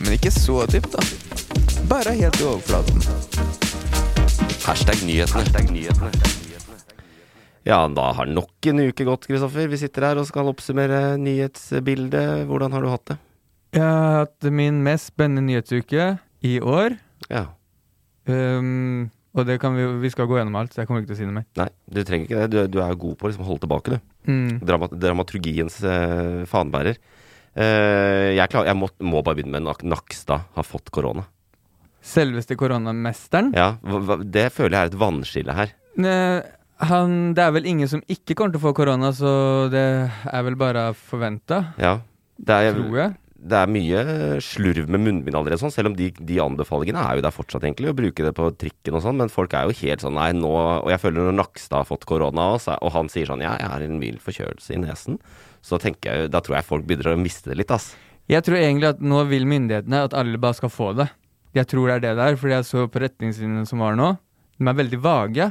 Men ikke så dypt, da. Bare helt i overflaten. Hashtag nyhetene. Ja, da har nok en uke gått, Kristoffer. Vi sitter her og skal oppsummere nyhetsbildet. Hvordan har du hatt det? Jeg har hatt min mest spennende nyhetsuke i år. Ja. Um, og det kan vi, vi skal gå gjennom alt, så jeg kommer ikke til å si noe mer. Nei, du trenger ikke det. Du, du er god på å liksom holde tilbake, du. Mm. Dramat dramaturgiens eh, fanbærer. Eh, jeg klar, jeg må, må bare begynne med Nak Nakstad har fått korona. Selveste koronamesteren. Ja, hva, hva, Det føler jeg er et vannskille her. Ne, Han, det er vel ingen som ikke kommer til å få korona, så det er vel bare forventa, Ja. Det er, tror jeg. det er mye slurv med munnbind allerede, sånn, selv om de, de anbefalingene er jo der fortsatt, egentlig, å bruke det på trikken og sånn, men folk er jo helt sånn nei, nå Og jeg føler når Nakstad har fått korona, og, så- og han sier sånn ja, jeg har en mild forkjølelse i nesen, så tenker jeg jo Da tror jeg folk begynner å miste det litt, ass. Jeg tror egentlig at nå vil myndighetene at alle bare skal få det. Jeg tror det er det der, fordi jeg så på retningslinjene som var nå. De er veldig vage.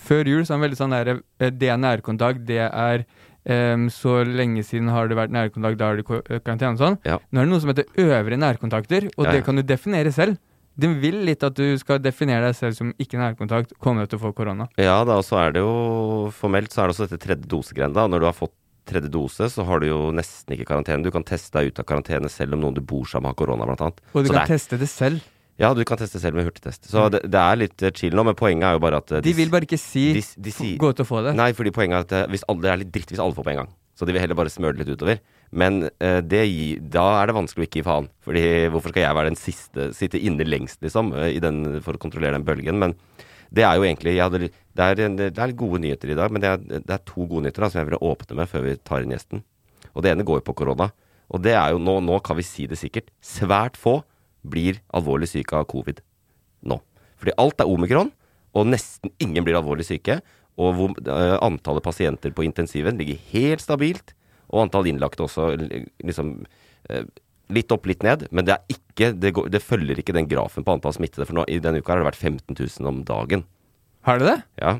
Før jul så er de veldig sånn der eh, Det er nærkontakt, det er em, Så lenge siden har det vært nærkontakt, da er det ko- eh, karantene og sånn. Ja. Nå er det noe som heter øvrige nærkontakter, og Ja, ja. det kan du definere selv. De vil litt at du skal definere deg selv som ikke nærkontakt, kommer du til å få korona. Ja da, og så er det jo formelt så er det også dette tredje dosegreiene. Når du har fått tredje dose, så har du jo nesten ikke karantene. Du kan teste deg ut av karantene selv om noen du bor sammen med har korona, blant annet. Og du så kan det er, teste det selv. ja, du kan teste selv med hurtigtest. Så det, det er litt eh, chill nå, men poenget er jo bare at eh, De vil bare ikke si de, de sier, gå ut og få det. Nei, fordi poenget er at eh, hvis alle, det er litt dritt hvis alle får på en gang. Så de vil heller bare smøre det litt utover. Men eh, det, gi- da er det vanskelig å ikke gi faen. Fordi hvorfor skal jeg være den siste, sitte inne lengst, liksom, eh, i den, for å kontrollere den bølgen? Men det er jo egentlig jeg hadde, det, er, en- det er gode nyheter i dag, men det er, det er to gode nyheter da, som jeg ville åpne med før vi tar inn gjesten. Og det ene går jo på korona. Og det er jo, nå, nå kan vi si det sikkert, svært få blir alvorlig syke av covid nå. Fordi alt er omikron, og nesten ingen blir alvorlig syke. Og hvor, eh, antallet pasienter på intensiven ligger helt stabilt. Og antall innlagte også eh, liksom eh, litt opp, litt ned. Men det, er ikke, det, går, det følger ikke den grafen på antall smittede. For nå, i denne uka har det vært 15 000 om dagen. Har de det? Ja.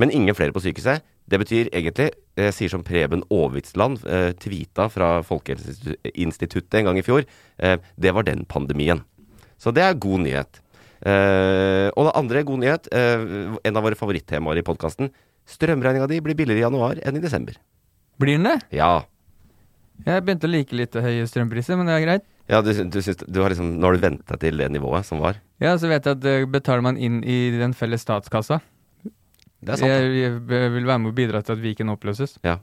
Men ingen flere på sykehuset. Det betyr egentlig, jeg sier som Preben Aavitsland eh, tvita fra Folkehelseinstituttet en gang i fjor, eh, det var den pandemien. Så det er god nyhet. Eh, og det andre er god nyhet, eh, en av våre favorittemaer i podkasten, strømregninga di blir billigere i januar enn i desember. Blir den det? Ja. Jeg begynte å like litt høye strømpriser, men det er greit. ja du, du, syns, du har liksom, nå har du venta til det nivået som var. Ja, så vet jeg at eh, betaler man inn i den felles statskassa. Det er sant. Jeg, jeg b- vil være med å bidra til at Viken oppløses. Ja.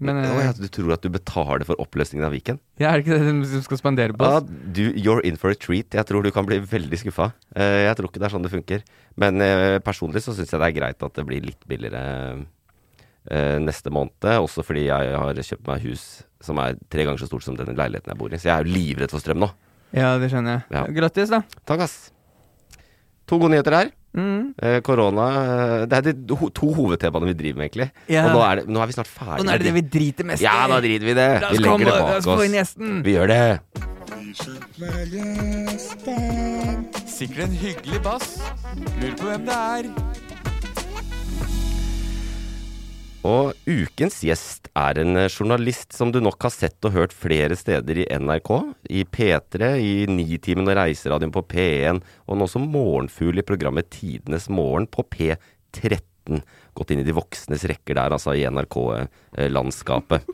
Men eh, Å, ja, du tror at du betaler for oppløsningen av Viken? jeg er ikke den som skal spandere på Ja, oss. du, you're in for a treat. Jeg tror du kan bli veldig skuffa. Eh, jeg tror ikke det er sånn det funker. Men eh, personlig så syns jeg det er greit at det blir litt billigere eh, neste måned. Også fordi jeg har kjøpt meg hus som er tre ganger så stort som den leiligheten jeg bor i. Så jeg er jo livredd for strøm nå. Ja, det skjønner jeg. Ja. Grattis, da. Takk, ass. To gode nyheter her. Mm. Eh, Korona eh, Det er de ho- to hovedtemaene vi driver med, egentlig. Ja. Og nå er, det, nå er vi snart ferdig. Og nå er det det vi driter mest i. Ja, da driter vi i det. La Vi oss legger komme, det la oss bak få inn oss. gjesten. Vi gjør det. Sikkert en hyggelig bass. Lurer på hvem det er. Og ukens gjest er en eh, journalist som du nok har sett og hørt flere steder i NRK. I P3, i Nitimen og Reiseradioen på P1, og nå som morgenfugl i programmet Tidenes morgen på P13. 2019. Gått inn i de voksnes rekker der, altså i eh, NRK-landskapet.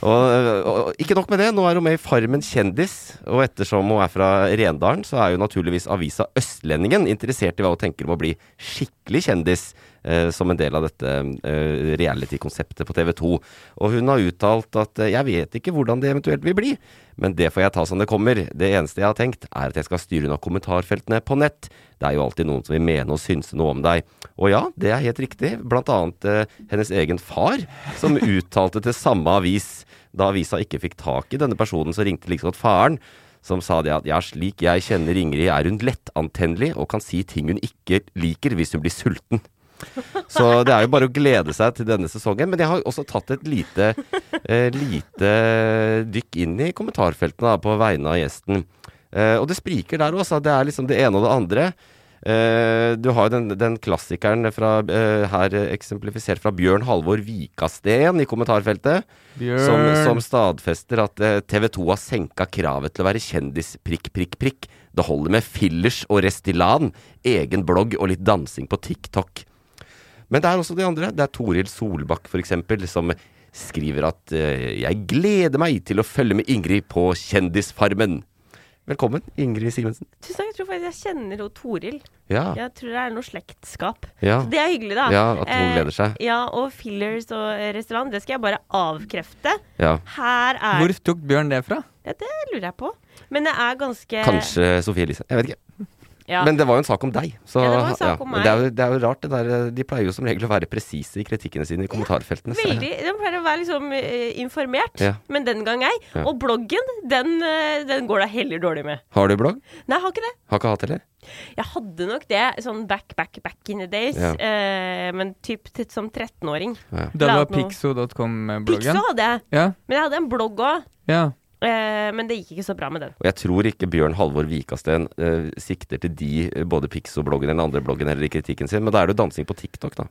Og, og, og ikke nok med det, nå er hun med i Farmen kjendis. Og ettersom hun er fra Rendalen, så er jo naturligvis avisa Østlendingen interessert i hva hun tenker om å bli skikkelig kjendis eh, som en del av dette eh, reality-konseptet på TV 2. Og hun har uttalt at eh, 'jeg vet ikke hvordan det eventuelt vil bli', men det får jeg ta som det kommer. Det eneste jeg har tenkt, er at jeg skal styre unna kommentarfeltene på nett. Det er jo alltid noen som vil mene og synse noe om deg. Og ja, det er helt riktig. Blant annet eh, hennes egen far, som uttalte til samme avis. Da avisa ikke fikk tak i denne personen, så ringte liksom at faren, som sa det at ja, slik jeg kjenner Ingrid, er hun lettantennelig og kan si ting hun ikke liker hvis hun blir sulten. Så det er jo bare å glede seg til denne sesongen. Men jeg har også tatt et lite, eh, lite dykk inn i kommentarfeltene da, på vegne av gjesten. Eh, og det spriker der også. Det er liksom det ene og det andre. Eh, du har jo den, den klassikeren fra, eh, her eh, eksemplifisert fra Bjørn Halvor Vikasten i kommentarfeltet. Som, Bjørn. som stadfester at eh, TV 2 har senka kravet til å være kjendis prikk, prikk, prikk. Det holder med fillers og Restylane, egen blogg og litt dansing på TikTok. Men det er også de andre. Det er Toril Solbakk f.eks. som skriver at eh, 'Jeg gleder meg til å følge med Ingrid på Kjendisfarmen'. Velkommen, Ingrid Simensen. Tusen takk, jeg tror faktisk jeg kjenner hun Toril. Ja. Jeg tror det er noe slektskap. Ja. Så det er hyggelig, da. Ja, at hun Eh, gleder seg. Ja, og fillers og eh, restaurant, det skal jeg bare avkrefte. ja. Her er Hvor tok Bjørn det fra? Ja, det lurer jeg på. Men det er ganske Kanskje Sofie Elise. Jeg vet ikke. Eh. Ja. Men det var jo en sak om deg. Så, Ja, det var en sak om men meg. Det, er jo, det er jo rart, det der. De pleier jo som regel å være presise i kritikkene sine i kommentarfeltene. så- Veldig, Den pleier å være liksom eh, informert, Ja. men den gang ei. Ja. Og bloggen, den, eh, den går da heller dårlig med. Har du blogg? Nei, jeg har ikke det. Har ikke hatt heller? Jeg hadde nok det sånn back, back, back in the days, Ja. eh, men typ til, som 13-åring. Da det La var ut noe. Pixo pixo.com-bloggen? hadde jeg, Ja, men jeg hadde en blogg òg. ja. Eh, men det gikk ikke så bra med den. Og jeg tror ikke Bjørn Halvor Vikasten eh, sikter til de, eh, både Pixo-bloggen eller den andre bloggen heller i kritikken sin, men da er det jo dansing på TikTok, da.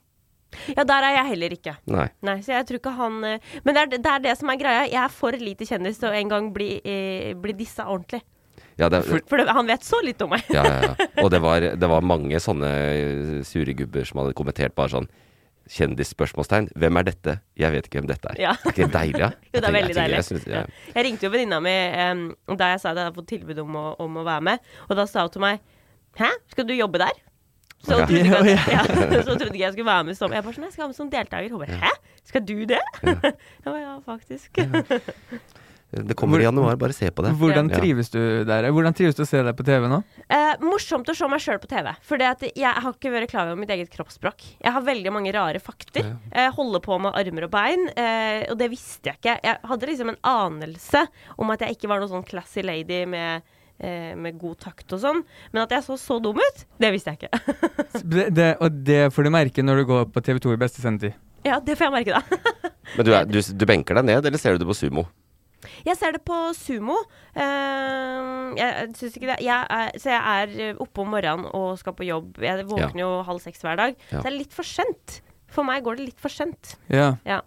Ja, der er jeg heller ikke. Nei. Nei, så jeg tror ikke han eh, Men det er det, er det som er greia. Jeg er for lite kjendis til å en gang bli, eh, bli dissa ordentlig. Ja, det, er- For det, han vet så litt om meg. ja, ja, ja. Og det var, det var mange sånne eh, sure gubber som hadde kommentert bare sånn Kjendisspørsmålstegn. Hvem er dette? Jeg vet ikke hvem dette er. Ja. Er ikke det deilig, da? Jo, det Jeg er veldig tenker- deilig. jeg synes- ja. Ja. Jeg ringte jo venninna mi em, da jeg sa at jeg hadde fått tilbud om å, om å være med, og da sa hun til meg Hæ, skal du jobbe der? Så hun Ja. trodde ikke, at, ja, så hun trodde ikke jeg skulle være med som Jeg bare sånn, jeg skal være med som deltaker. Hun bare hæ, skal du det? Jeg bare ja, faktisk. Det kommer i januar, bare se på det. Hvordan Ja. trives du der? Hvordan trives du å se deg på TV nå? Eh, morsomt å se meg sjøl på TV. For jeg har ikke vært klar over mitt eget kroppsspråk. Jeg har veldig mange rare fakter. Eh, holder på med armer og bein. Eh, og det visste jeg ikke. Jeg hadde liksom en anelse om at jeg ikke var noen sånn classy lady med, eh, med god takt og sånn. Men at jeg så så dum ut, det visste jeg ikke. Det, det, og det får du merke når du går på TV 2 i beste sendetid. ja, det får jeg merke, da. Men du, er, du, du benker deg ned, eller ser du det på sumo? Jeg ser det på sumo. Eh, jeg syns ikke det jeg er, Så jeg er eh, oppe om morgenen og skal på jobb. Jeg våkner jo halv seks hver dag. Ja. Så det er litt for sent. For meg går det litt for sent. Ja. Ja.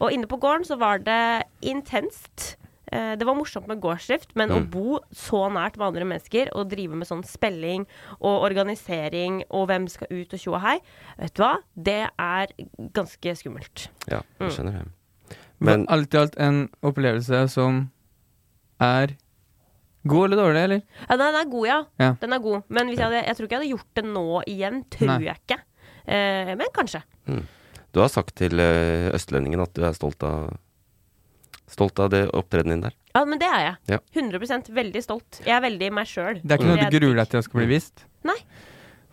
Og inne på gården så var det intenst. Eh, Det var morsomt med gårdsdrift, men Mm. å bo så nært med andre mennesker og drive med sånn spelling og organisering og hvem skal ut og tjo og hei, vet du hva? Det er ganske skummelt. Ja, Mm. jeg skjønner det. Men Men alt i alt en opplevelse som er god eller dårlig, eller? Ja, den er god, ja. Ja. Den er god. Men hvis jeg, hadde, jeg tror ikke jeg hadde gjort det nå igjen. Tror Nei. jeg ikke. Eh, men kanskje. du har sagt til eh, østlendingen at du er stolt av Stolt av det opptredenen din der. Ja, men det er jeg. Ja. 100 Veldig stolt. Jeg er veldig meg sjøl. Det er ikke noe du gruer deg til å skal Mm. bli vist? Nei.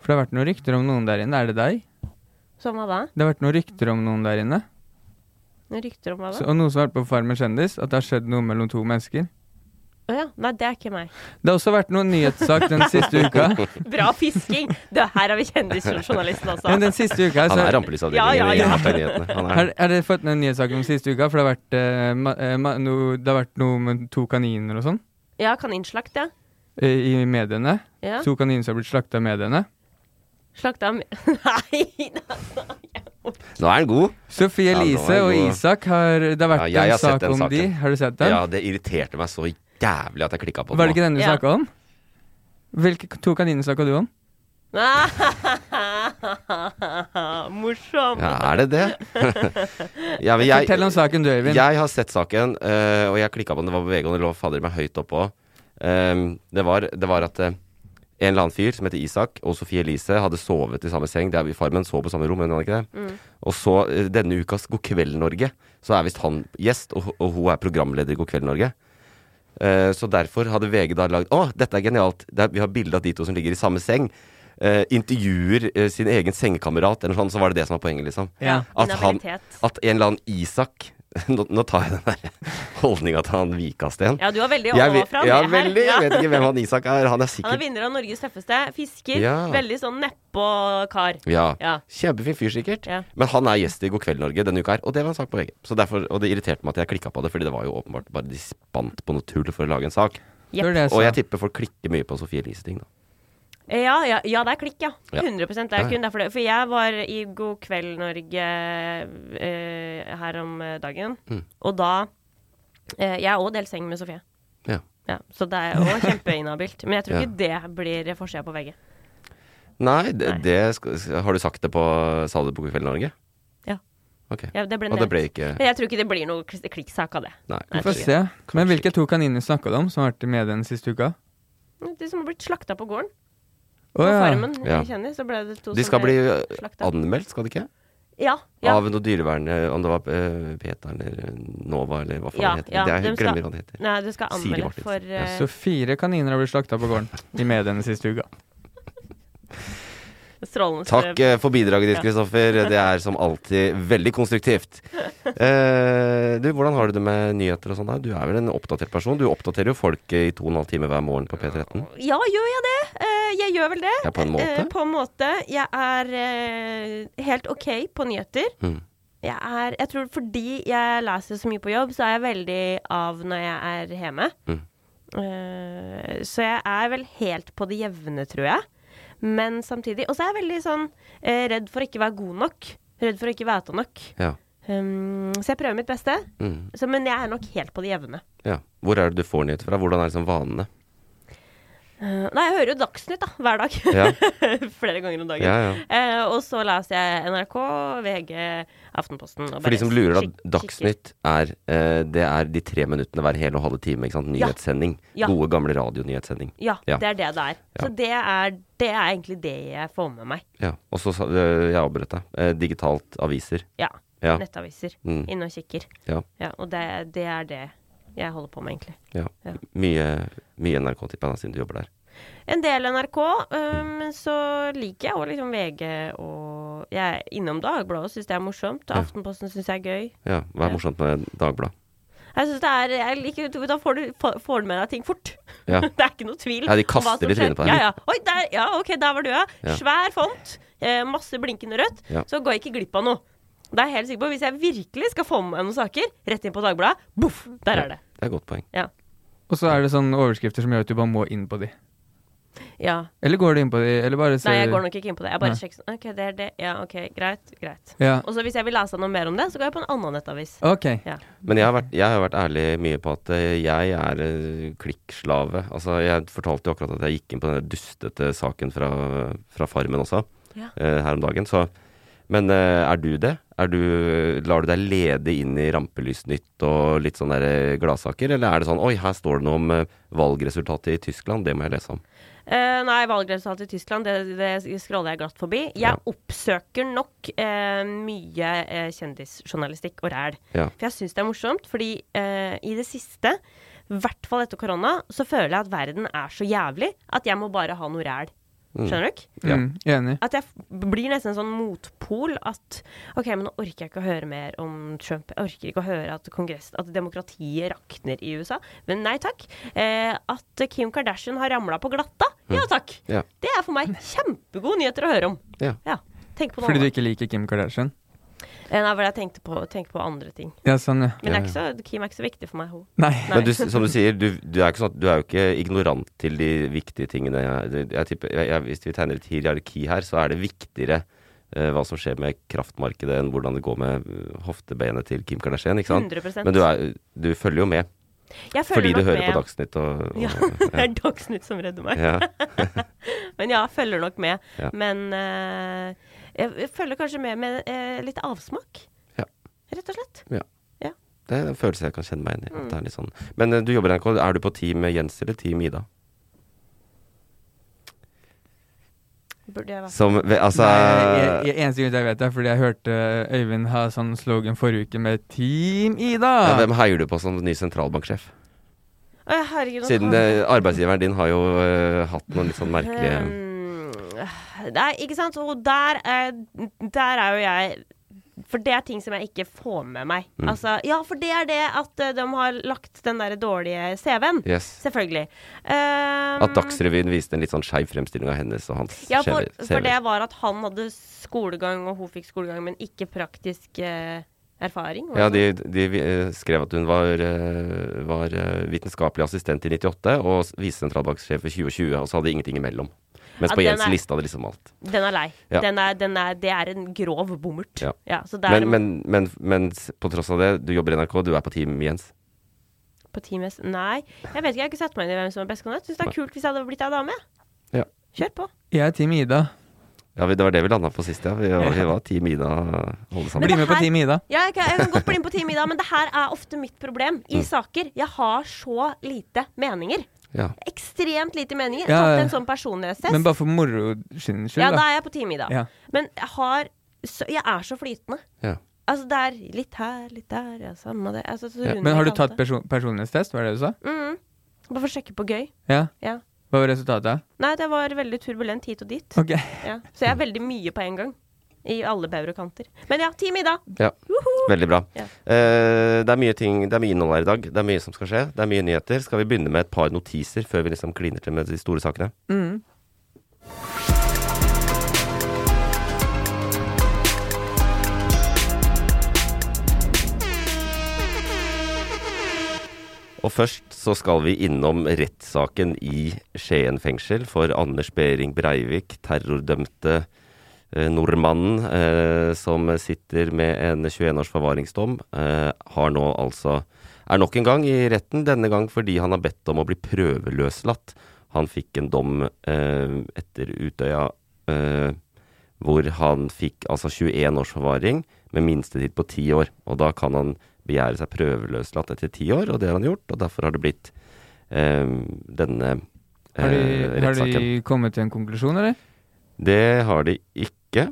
For det har vært noen rykter om noen der inne. Er det deg? Som hva da? Det har vært noen rykter om noen der inne. Rykter om hva Så, da? Å og noen som har vært på Farmen kjendis. At det har skjedd noe mellom to mennesker. ja. Nei, det er ikke meg. Det har også vært noen nyhetssak den siste uka. Bra fisking! Det her har vi kjendisjournalisten også. Men den siste uka Han så er Ja, rampelysavdelingen ja, i ja. Harstad-nyhetene. Han er Har, har dere fått med nyhetssaken om siste uka? For det har vært, eh, ma, eh, ma, no, det har vært noe med to kaniner og sånn Ja, kaninslakt, ja. eh, i mediene. ja. To kaniner som har blitt slakta i mediene. Slakta med Nei da! Nå er han god! Sofie Ja, det var Elise og god. Isak har Det har vært Ja, jeg har en sett sak den om saken. de. Har du sett den? Ja, det irriterte meg så jævlig at jeg klikka på Var det ikke den du Ja. snakka om? Hvilke to kaniner snakka du om? Nei. Morsom. Ja, er det det? ja, men jeg, Fortell om saken du, Øyvind. Jeg har sett saken, eh, og jeg klikka på den. Det var på VG, og det lå fader meg høyt oppå. Um, det, var, det var at eh, en eller annen fyr som heter Isak, og Sofie Elise hadde sovet i samme seng. Det er vi Farmen så på samme rom, men han ikke det. Og så eh, denne ukas God kveld, Norge, så er visst han gjest, og, og hun er programleder i God kveld, Norge. Eh, så derfor hadde VG da lagd Å, dette er genialt! Det er, vi har bilde av de to som ligger i samme seng. Eh, intervjuer eh, sin egen sengekamerat, eller noe sånt. Så var det det som var poenget, liksom. Ja. At, han, Inhabilitet. at en eller annen Isak nå, nå tar jeg den der holdninga til han Vikasten. Ja, du er veldig jeg, vet- overfra. ja, med her. veldig, Ja. jeg vet ikke hvem han Isak er. Han er Han er sikkert vinner av Norges tøffeste. Fisker. Ja. Veldig sånn nedpå-kar. ja. Ja. Kjempefin fyr, sikkert. Ja. Men han er gjest i God kveld, Norge denne uka her. Og det var en sak på VG. Så derfor, og det irriterte meg at jeg klikka på det, Fordi det var jo åpenbart bare de spant på noe tull for å lage en sak. Det var det jeg Og sa. jeg tipper folk klikker mye på Sofie Elise-ting, da. Ja, ja, ja, det er klikk, ja. Ja. 100 det Ja, er ja. kun derfor det. For jeg var i God kveld Norge eh, her om eh, dagen, Mm. og da eh, Jeg er òg delt seng med Sofie. Ja. Ja, så det er òg kjempeinhabilt. Men jeg tror Ja. ikke det blir forsida på VG. Nei, det, Nei. det skal, har du sagt det på Sa du det på God kveld, Norge? Ja. Ok. Ja, det ble og det nevnt. ble ikke Men jeg tror ikke det blir noe kli- klikksak av det. Nei. Vi får se. Men hvilke to kaniner snakka du om som har vært i media den siste uka? De som har blitt slakta på gården. Å På ja. farmen. Ja. Jeg kjenner, så ble det to De som skal bli ble eh, slakta. anmeldt, skal de ikke? Ja. ja. Av noe dyrevern, eh, om det var eh, Peter eller Nova eller hva faen Ja, det heter. ja, det er, de jeg skal- glemmer hva det heter. Nei, du skal Siri anmelde Martinsen. for Ja, eh, Så fire kaniner har blitt slakta på gården i media den siste uka. strålende Takk eh, for bidraget ditt, Ja. Kristoffer. Det er som alltid veldig konstruktivt. Eh, du, hvordan har du det med nyheter og sånn? da? Du er vel en oppdatert person? Du oppdaterer jo folk eh, i to og en halv time hver morgen på P13. Ja, gjør jeg det? Eh, jeg gjør vel det. Ja, på en måte. Eh, på en måte. Jeg er eh, helt OK på nyheter. Mm. Jeg, er, jeg tror fordi jeg leser så mye på jobb, så er jeg veldig av når jeg er hjemme. Mm. Eh, så jeg er vel helt på det jevne, tror jeg. Men samtidig Og så er jeg veldig sånn eh, redd for å ikke være god nok. Redd for å ikke vite nok. Ja. Um, så jeg prøver mitt beste. Mm. Så, men jeg er nok helt på det jevne. ja. Hvor er det du får nyheter fra? Hvordan er liksom vanene? Eh, nei, jeg hører jo Dagsnytt da, hver dag. Ja. Flere ganger om dagen. Ja, ja. Eh, og så leser jeg NRK, VG, Aftenposten. og For de bare som lurer, kik- da. Dagsnytt er, eh, det er de tre minuttene hver hele og halve time. Ikke sant? Ja. Nyhetssending. Ja. Gode, gamle radionyhetssending. kikker. Ja, Ja. det er det det er. Så Ja. det er, det er egentlig det jeg får med meg. Ja, og så sa- øh, jeg avbrøt deg. Eh, digitalt aviser. Ja. Ja. Nettaviser. Mm. Inne og kikker. Ja. Ja, og det, det er det jeg holder på med, egentlig. ja. Ja. Mye, mye NRK, tipper jeg, da, siden du jobber der. En del NRK, eh, Mm. men så liker jeg òg liksom VG og Jeg er innom Dagbladet og syns det er morsomt. og Aftenposten syns jeg er gøy. Ja, Hva er Ja. morsomt med Dagbladet? Jeg synes det er, jeg liker, Da får du, får- får du med deg ting fort. Ja. det er ikke noe tvil. Ja, de om hva kaster som litt skjer. trynet på deg. Ja, ja. Oi, der, ja, ok, der var du, ja. Ja. Svær font, eh, masse blinkende rødt. Ja. Så går jeg ikke glipp av noe. Det er jeg helt sikker på. Hvis jeg virkelig skal få med meg noen saker, rett inn på Dagbladet. Boff! Der er det. Det er et godt poeng. Ja. Og så er det sånne overskrifter som gjør at du bare må inn på de. ja. Eller går du inn på de, eller bare ser Nei, jeg går nok ikke inn på det. Jeg bare Nei. sjekker sånn. OK, det er det. Ja, OK, greit. Greit. Ja. Og så hvis jeg vil lese noe mer om det, så går jeg på en annen nettavis. Ok. Ja. Men jeg har, vært, jeg har vært ærlig mye på at eh, jeg er eh, klikkslave. Altså, jeg fortalte jo akkurat at jeg gikk inn på den der dustete saken fra, fra Farmen også, Ja. eh, her om dagen. Så. Men eh, er du det? Er du, lar du deg lede inn i Rampelysnytt og litt sånne der, eh, gladsaker? Eller er det sånn oi, her står det noe om eh, valgresultatet i Tyskland, det må jeg lese om. Eh, nei, valgresultatet i Tyskland, det, det scroller jeg glatt forbi. Jeg Ja. oppsøker nok eh, mye eh, kjendisjournalistikk og ræl. Ja. For jeg syns det er morsomt, fordi eh, i det siste, i hvert fall etter korona, så føler jeg at verden er så jævlig at jeg må bare ha noe ræl. Skjønner du? ikke? Ja. Mm, enig. At jeg f- blir nesten en sånn motpol at OK, men nå orker jeg ikke å høre mer om Trump. Jeg orker ikke å høre at, kongress, at demokratiet rakner i USA. Men nei takk. Eh, at Kim Kardashian har ramla på glatta. Ja takk. Ja. Det er for meg kjempegode nyheter å høre om. Ja. Ja. Tenk på noe Fordi du annet. ikke liker Kim Kardashian? Eh, Nei, for jeg tenkte på, tenkte på andre ting. Ja, sånn, ja. Men Ja, det er ikke så, Kim er ikke så viktig for meg. Hun. Nei. Nei. Men du, som du sier, du, du, er ikke sånn at, du er jo ikke ignorant til de viktige tingene. Jeg, jeg, tipper- jeg, jeg, hvis vi tegner et hierarki her, så er det viktigere eh, hva som skjer med kraftmarkedet, enn hvordan det går med eh, hoftebeinet til Kim Kardashian. Ikke sant? 100 Men du, er, du følger jo med. Jeg Fordi følger du nok hører med. på Dagsnytt og, og Ja, det er Dagsnytt som redder meg. ja. Men ja, følger nok med. Ja. Men eh, jeg jeg følger kanskje med med eh, litt avsmak. Ja. Rett og slett. Det er en følelse jeg kan kjenne meg inn i. at Mm. Det er litt sånn. Men eh, du jobber i NRK. Er du på team Jens eller team Ida? Burde jeg vært Som, ve- altså Nei, jeg, jeg, eneste grunn til at jeg vet det, er fordi jeg hørte Øyvind ha sånn slogan forrige uke med Team Ida. ja, Hvem heier du på som ny sentralbanksjef? Å, ja, herregud. nå Siden har- eh, arbeidsgiveren din har jo eh, hatt noen litt sånn merkelige Um, Hmm. Nei, ikke sant. Og der, eh, der er jo jeg For det er ting som jeg ikke får med meg. Mm. Altså, ja, for det er det at eh, de har lagt den der dårlige CV-en. Yes. Selvfølgelig. Um, At Dagsrevyen viste en litt sånn skeiv fremstilling av hennes og hans Ja, for, skjeve- for det skjeve- var at han hadde skolegang, og hun fikk skolegang, men ikke praktisk eh, erfaring. var Ja, det de, de eh, skrev at hun var, eh, var eh, vitenskapelig assistent i 98 og s- visesentralbanksjef i 2020, og så hadde de ingenting imellom. Mens Ja, på den Jens er- lista hadde liksom alt. sånn? Den er lei. Ja. Den er, den er, det er en grov bommert. Ja. så det er Men, men, men, men s- på tross av det, du jobber i NRK, du er på team Jens. på Team S Nei, jeg vet ikke, jeg har ikke satt meg inn i hvem som er bestekandidat. Syns det er kult hvis jeg hadde blitt ei dame. Ja. Kjør på. Jeg er Team Ida. Ja, vi- Det var det vi landa på sist, ja. Vi, var- vi var team Ida holde sammen. Bli med på her- Team Ida. Ja, jeg, kan, jeg kan godt bli med på Team Ida, men det her er ofte mitt problem i saker. Jeg har så lite meninger. Ja. Ekstremt lite meninger. Ja, Tatt ja. en sånn personlighetstest. Men bare for moro sin ja, skyld, da da. er jeg på Team Ida. Ja. Men jeg har så, Jeg er så flytende. Ja. Altså det er litt her, litt der, ja, samme det altså, så runder Men har du jeg tatt alt det. perso personlighetstest, var det det du sa? Mm. Bare for å sjekke på gøy. Ja. Ja. Hva var resultatet? Nei, det var veldig turbulent hit og dit. Ok. Ja. Så jeg er veldig mye på en gang. I alle bauger og kanter. Men ja, Team Ida. Ja. Veldig bra. Ja. Eh, det, er mye ting, det er mye innhold her i dag. Det er mye som skal skje. Det er mye nyheter. Skal vi begynne med et par notiser før vi liksom kliner til med de store sakene? Og først så skal vi innom rettssaken i Skien fengsel for Anders Behring Breivik, terrordømte eh, nordmannen eh, som sitter med en 21 års forvaringsdom, eh, har nå altså er nok en gang i retten, denne gang fordi han har bedt om å bli prøveløslatt. Han fikk en dom eh, etter Utøya eh, hvor han fikk altså 21 års forvaring med minstetid på 10 år. Og da kan han begjære seg prøveløslatt etter 10 år, og det har han gjort. Og derfor har det blitt eh, denne eh, Har de, har rettssaken. de kommet til en konklusjon, eller? Det har de ikke.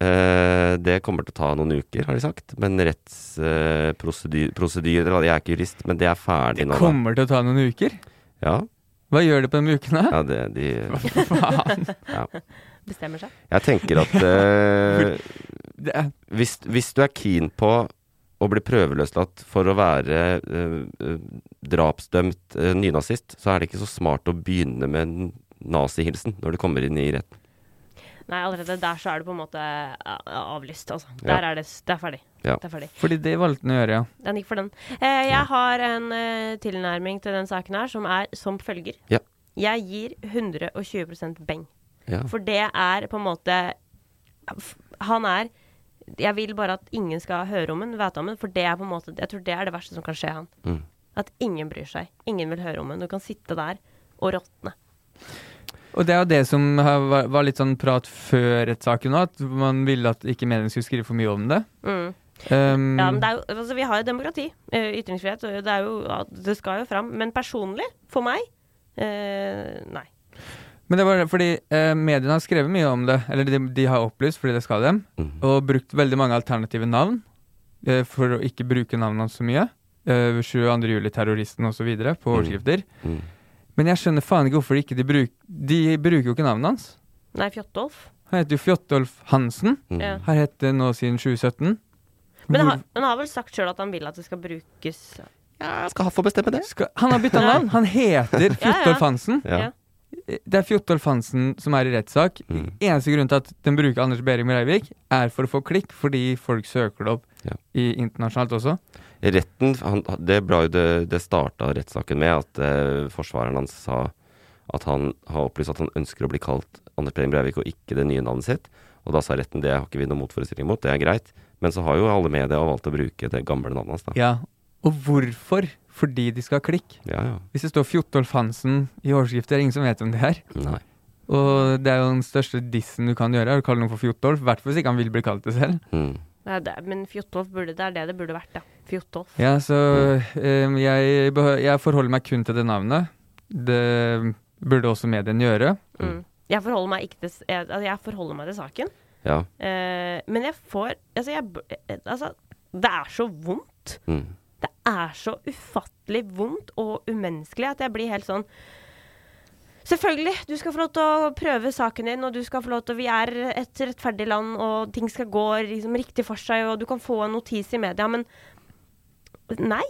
Eh, det kommer til å ta noen uker, har de sagt. Men eh, rettsprosedyrer Jeg er ikke jurist, men det er ferdig nå. Da. Kommer til å ta noen uker? Ja, Hva gjør det på de ukene? ja det, de, Faen. Bestemmer seg. jeg tenker at eh, Det er, hvis, hvis du er keen på å bli prøveløslatt for å være eh, eh, drapsdømt eh, nynazist, så er det ikke så smart å begynne med en nazihilsen når du kommer inn i retten. Nei, allerede der så er det på en måte a- avlyst, altså. Ja. Der er det, s- det er ferdig. Ja. Det er ferdig. fordi det valgte han å gjøre, ja. Den gikk for den. Eh, jeg har en eh, tilnærming til den saken her som er som følger. Ja. Jeg gir 120 beng. Ja. For det er på en måte f- Han er Jeg vil bare at ingen skal høre om den, vite om den, for det er på en måte Jeg tror det er det verste som kan skje han. Mm. At ingen bryr seg. Ingen vil høre om den. Du kan sitte der og råtne. Og det er jo det som har- var var litt sånn prat før rettssaken òg, at man ville at ikke mediene skulle skrive for mye om det. Mm. Um, Ja, men det er jo, altså, vi har jo demokrati, eh, ytringsfrihet, og det, er jo, ja, det skal jo fram. Men personlig, for meg eh, Nei. Men det var fordi eh, mediene har skrevet mye om det, eller de, de har opplyst fordi det skal dem, og brukt veldig mange alternative navn eh, for å ikke bruke navnene hans så mye. Eh, 22. juli-terroristen osv. på overskrifter. Mm. Men jeg skjønner faen ikke hvorfor de ikke de bruk, De bruker jo ikke navnet hans. Nei, Fjottolf. Han heter jo Fjotolf Hansen. mm. Ja. Har hett det nå siden 2017. Men han, Hvor- har- han har vel sagt sjøl at han vil at det skal brukes Skal han få bestemme det? Skal, han har bytta navn! Han heter Fjotolf Hansen. Ja. Ja. Det er Fjotolf Hansen som er i rettssak. Eneste grunn til at den bruker Anders Behring Breivik, er for å få klikk, fordi folk søker det opp Ja. i internasjonalt også. Retten, han, det, ble jo det, det starta rettssaken med at eh, forsvareren hans sa at han har opplyst at han ønsker å bli kalt Anders Behring Breivik og ikke det nye navnet sitt. Og da sa retten det har ikke vi noen motforestilling mot, det er greit. Men så har jo alle media valgt å bruke det gamle navnet hans, da. Ja, Og hvorfor? Fordi de skal ha klikk. Ja, ja. Hvis det står Fjotolf Hansen i overskrifter, er det ingen som vet hvem det er. Nei. Og det er jo den største dissen du kan gjøre, er å kalle noen for Fjotolf. I hvert fall hvis ikke han vil bli kalt det selv. Mm. Nei, det, er- men Fjotolf burde Det er det det burde vært, da. Fjotolf. Ja, så eh, jeg, behø- jeg forholder meg kun til det navnet. Det burde også mediene gjøre. Mm. Jeg forholder meg ikke til s- jeg, altså, jeg forholder meg til saken. Ja. Eh, men jeg får altså, jeg, b- eh, altså, det er så vondt. Mm. Det er så ufattelig vondt og umenneskelig at jeg blir helt sånn Selvfølgelig, du skal få lov til å prøve saken din, og du skal få lov til Vi er et rettferdig land, og ting skal gå liksom, riktig for seg, og du kan få en notis i media, men Nei.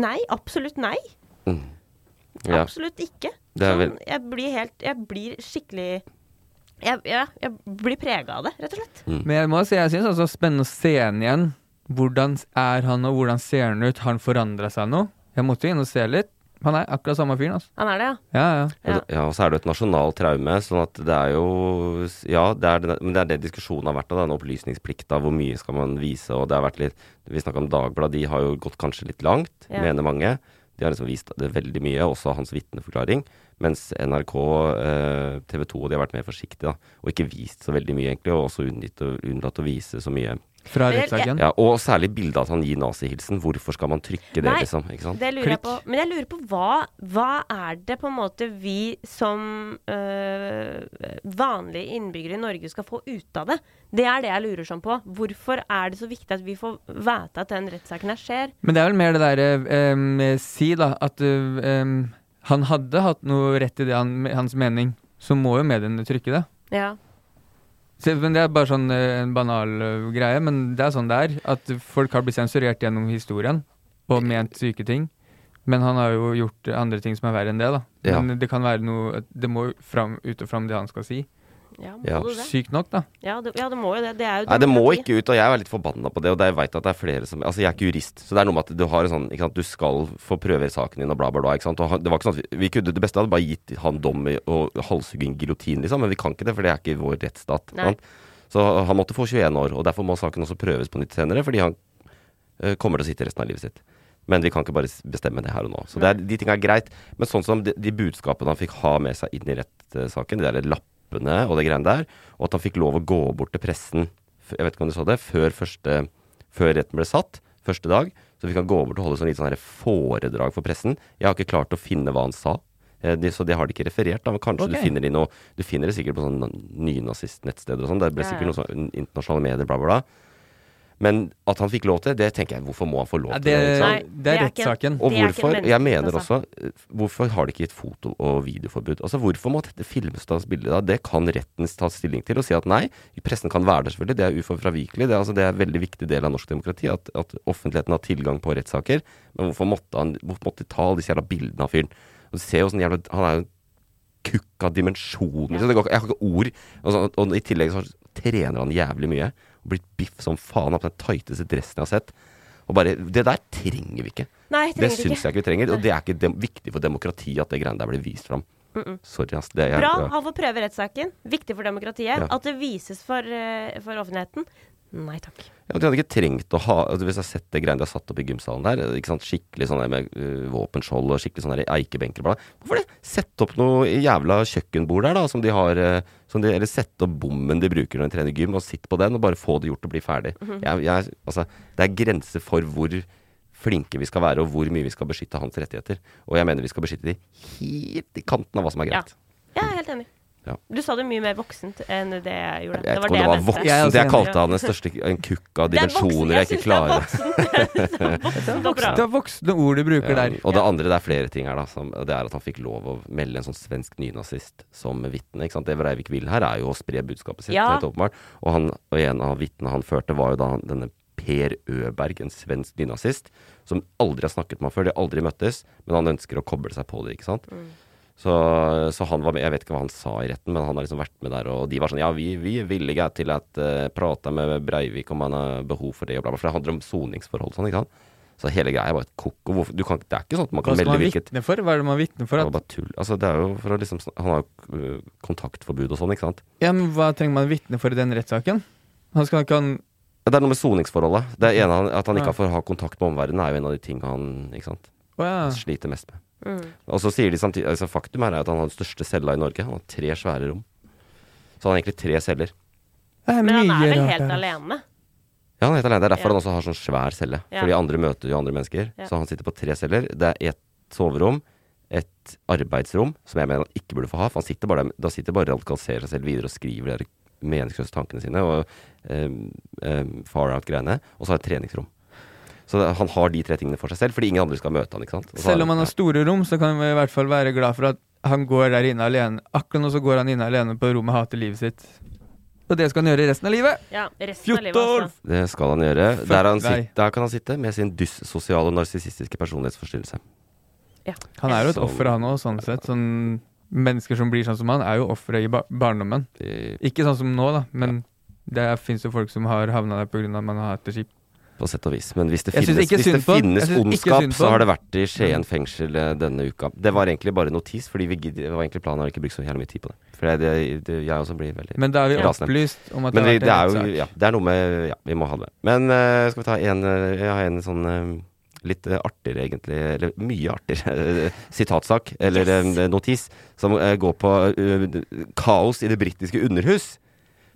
Nei. Absolutt nei. ja. Absolutt ikke. Det er vel- Sånn, jeg blir helt Jeg blir skikkelig Jeg, ja, jeg blir prega av det, rett og slett. Mm. Men jeg må si, jeg syns altså spennende å se han igjen. Hvordan er han, og hvordan ser han ut? Har han forandra seg nå? Jeg måtte jo inn og se litt. Han er akkurat samme fyren, altså. Han er det, ja. Ja, ja. Ja. Og det- Ja, og så er det jo et nasjonalt traume, sånn at det er jo Ja, det er, den- men det er det diskusjonen har vært av denne opplysningsplikta, hvor mye skal man vise, og det har vært litt Vi snakka om Dagbladet, de har jo gått kanskje litt langt, Ja. mener mange. De har liksom vist det veldig mye, også hans vitneforklaring. Mens NRK, eh, TV 2, de har vært mer forsiktige, da. Og ikke vist så veldig mye, egentlig, og også unnlatt å, unnlatt å vise så mye. Fra Vel, rettssaken. Ja, og særlig bildet at han gir nazihilsen. Hvorfor skal man trykke det, Nei, liksom? Ikke sant? Det lurer jeg Klikk. på. Men jeg lurer på hva, hva er det på en måte vi som øh, vanlige innbyggere i Norge skal få ut av det? Det er det jeg lurer sånn på. Hvorfor er det så viktig at vi får vite at den rettssaken her skjer? Men det er vel mer det derre Si, da, at eh, em, han hadde hatt noe rett i det han, hans mening. Så må jo mediene trykke det. Ja. Se, men Det er bare sånn eh, en banal eh, greie, men det er sånn det er. At folk har blitt sensurert gjennom historien og ment syke ting. Men han har jo gjort andre ting som er verre enn det, da. Ja. Men det kan være noe Det må jo fram, ut og fram det han skal si. Ja, må Ja. du det? Sykt nok, da. Ja det, ja, det må jo det. Det er jo Nei, det må demokrati. ikke ut, og jeg er litt forbanna på det. Og det, jeg vet at det er flere som Altså, jeg er ikke jurist, så det er noe med at du har en sånn ikke sant, Du skal få prøve saken din, og bla, bla, bla. Ikke sant? Og han- det var ikke sånn at vi, vi kunne Det beste hadde bare gitt han dom i- og halshugging giljotin, liksom. Men vi kan ikke det, for det er ikke vår rettsstat. Nei. sant? Så han måtte få 21 år, og derfor må saken også prøves på nytt senere, fordi han eh, kommer til å sitte resten av livet sitt. Men vi kan ikke bare s- bestemme det her og nå. Så det er, de tinga er greit. Men sånn som de, de budskapene han fikk ha med seg inn i rettssaken, de der lappene og det greiene der, og at han fikk lov å gå bort til pressen, f- jeg vet ikke om du så det, før, første, før retten ble satt, første dag, så fikk han gå bort og holde sånn litt sånn her foredrag for pressen. Jeg har ikke klart å finne hva han sa. Eh, De, så det har de ikke referert, da, men kanskje Ok. du finner det i noe Du finner det sikkert på sånne nynazistnettsteder og sånn. Det ble Ja, ja. sikkert noe sånn internasjonale medier, bla, bla, bla. Men at han fikk lov til det, det tenker jeg Hvorfor må han få lov Ja, til det? ikke sant? Nei, det, det er det er ikke- rettssaken. Og Det er ikke hvorfor, en jeg menneskerett, mener altså. også, eh, hvorfor har de ikke gitt foto- og videoforbud? Altså Hvorfor må dette filmstatsbildet da? Det kan retten ta stilling til og si at nei, pressen kan være der selvfølgelig, det er uforfravikelig. Det, er- altså, det er en veldig viktig del av norsk demokrati at, at offentligheten har tilgang på rettssaker. Men hvorfor måtte, han, hvorfor måtte de ta alle disse jævla bildene av fyren? Og du ser jo sånn jævla, Han er jo en kukk av dimensjoner. så det går ikke- Jeg har ikke ord. Og, så, og i tillegg så trener han jævlig mye. Og blitt biff som faen opp den tighteste dressen jeg har sett. Og bare, Det der trenger vi ikke. Nei, jeg Det trenger syns jeg ikke vi trenger, og det er ikke dem, viktig for demokratiet at det greiene der blir vist fram. Sorry, ass. Det er, Bra, ja. han får prøve rettssaken. Viktig for demokratiet. Ja. At det vises for, eh, for offentligheten. Nei takk. Ja, de hadde ikke trengt å ha altså, Hvis jeg har sett det greiene de har satt opp i gymsalen der, ikke sant? skikkelig sånn der med øh, våpenskjold og skikkelig sånn der eikebenker og bla. Hvorfor det? Sett opp noe jævla kjøkkenbord der, da, som de har øh, som de, Eller sett opp bommen de bruker når de trener gym, og sitt på den, og bare få det gjort og bli ferdig. Mm-hmm. jeg, jeg, altså, det er grenser for hvor flinke vi skal være, og hvor mye vi skal beskytte hans rettigheter. Og jeg mener vi skal beskytte de helt i kanten av hva som er Ja. greit. Jeg er helt enig. Ja. Du sa det mye mer voksent enn det jeg gjorde. Jeg vet ikke om det var mente. voksent. Jeg er Jeg, også enig. kalte han den største en kukk av Det er voksen, dimensjoner jeg ikke klarer. voksen, og bra. Det er voksne ord du bruker Ja, der. og det andre, det er flere ting her, da. Som, det er at han fikk lov å melde en sånn svensk nynazist som vitne. ikke sant? Det Breivik vil her, er jo å spre budskapet sitt, Ja. helt åpenbart. Og, han, og en av vitnene han førte, var jo da han- denne Per Øberg, en svensk nynazist, som aldri har snakket med ham før. De har aldri møttes, men han ønsker å koble seg på det, ikke sant. Så, så han var med, jeg vet ikke hva han sa i retten, men han har liksom vært med der, og de var sånn ja, vi, vi er villige til å prate med Breivik om han har behov for det, og bla, bla, for det handler om soningsforhold og sånn, ikke sant. Så hele greia er bare et koko. Hvorfor, du kan, det er ikke sånn at man Hva kan skal melde man hvilket vitne for? Hva er det man vitner Det for? var At, bare tull. Altså, det er jo for å liksom sn- Han har jo øh, kontaktforbud og sånn, ikke sant. ja, men hva trenger man vitne for i den rettssaken? Han skal ikke ha en Det er noe med soningsforholdet. Det er ene, han- At han ikke får ha kontakt med omverdenen, er jo en av de ting han ikke sant, Å ja. sliter mest med. Og så sier de samtidig altså Faktum her er at han har den største cella i Norge. Han har tre svære rom. Så han har egentlig tre celler. Det er Men han mye er vel rart helt her. alene. Ja, han er helt alene. Det er derfor Ja. han også har sånn svær celle. Ja. Fordi andre møter jo andre mennesker. Ja. Så han sitter på tre celler. Det er ett soverom, et arbeidsrom, som jeg mener han ikke burde få ha. For han sitter bare der, da sitter bare og radikaliserer seg selv videre og skriver de der meningsløse tankene sine og ehm, ehm, far out-greiene. Og så har han et treningsrom. Så det, han har de tre tingene for seg selv, fordi ingen andre skal møte han, ikke sant. Og så Selv om han har ja. store rom, så kan vi i hvert fall være glad for at han går der inne alene. Akkurat nå så går han inne alene på rommet og hater livet sitt. Og det skal han gjøre resten av livet. Ja, resten av livet altså. Det skal han gjøre. Fuck Der, han deg. sit, der kan han sitte med sin dyssosiale og narsissistiske personlighetsforstyrrelse. Han er jo et Som- offer, han òg, sånn sett. Sånn, mennesker som blir sånn som han, er jo ofre i ba barndommen. De Ikke sånn som nå, da, men det fins jo folk som har havna der pga. at man hater skip. På sett og vis. Men hvis det Jeg synes finnes, ikke hvis det synd på han. Jeg finnes synes ikke ondskap, synd på så han. har det vært i Skien fengsel eh, denne uka. Det var egentlig bare notis, fordi vi gidder, det var egentlig planen har ikke brukt så jævlig mye tid på det. For det, det, det, jeg også blir veldig Men da er vi Ja. opplyst om at Men det vi, har det er vært en jo rettssak. ja, Det er noe med Ja, vi må ha det. Men eh, skal vi ta en eh, Jeg har en sånn eh, litt eh, artigere, egentlig, eller mye artigere eh, sitatsak, eller Yes. eh, notis, som eh, går på eh, d- kaos i det britiske underhus.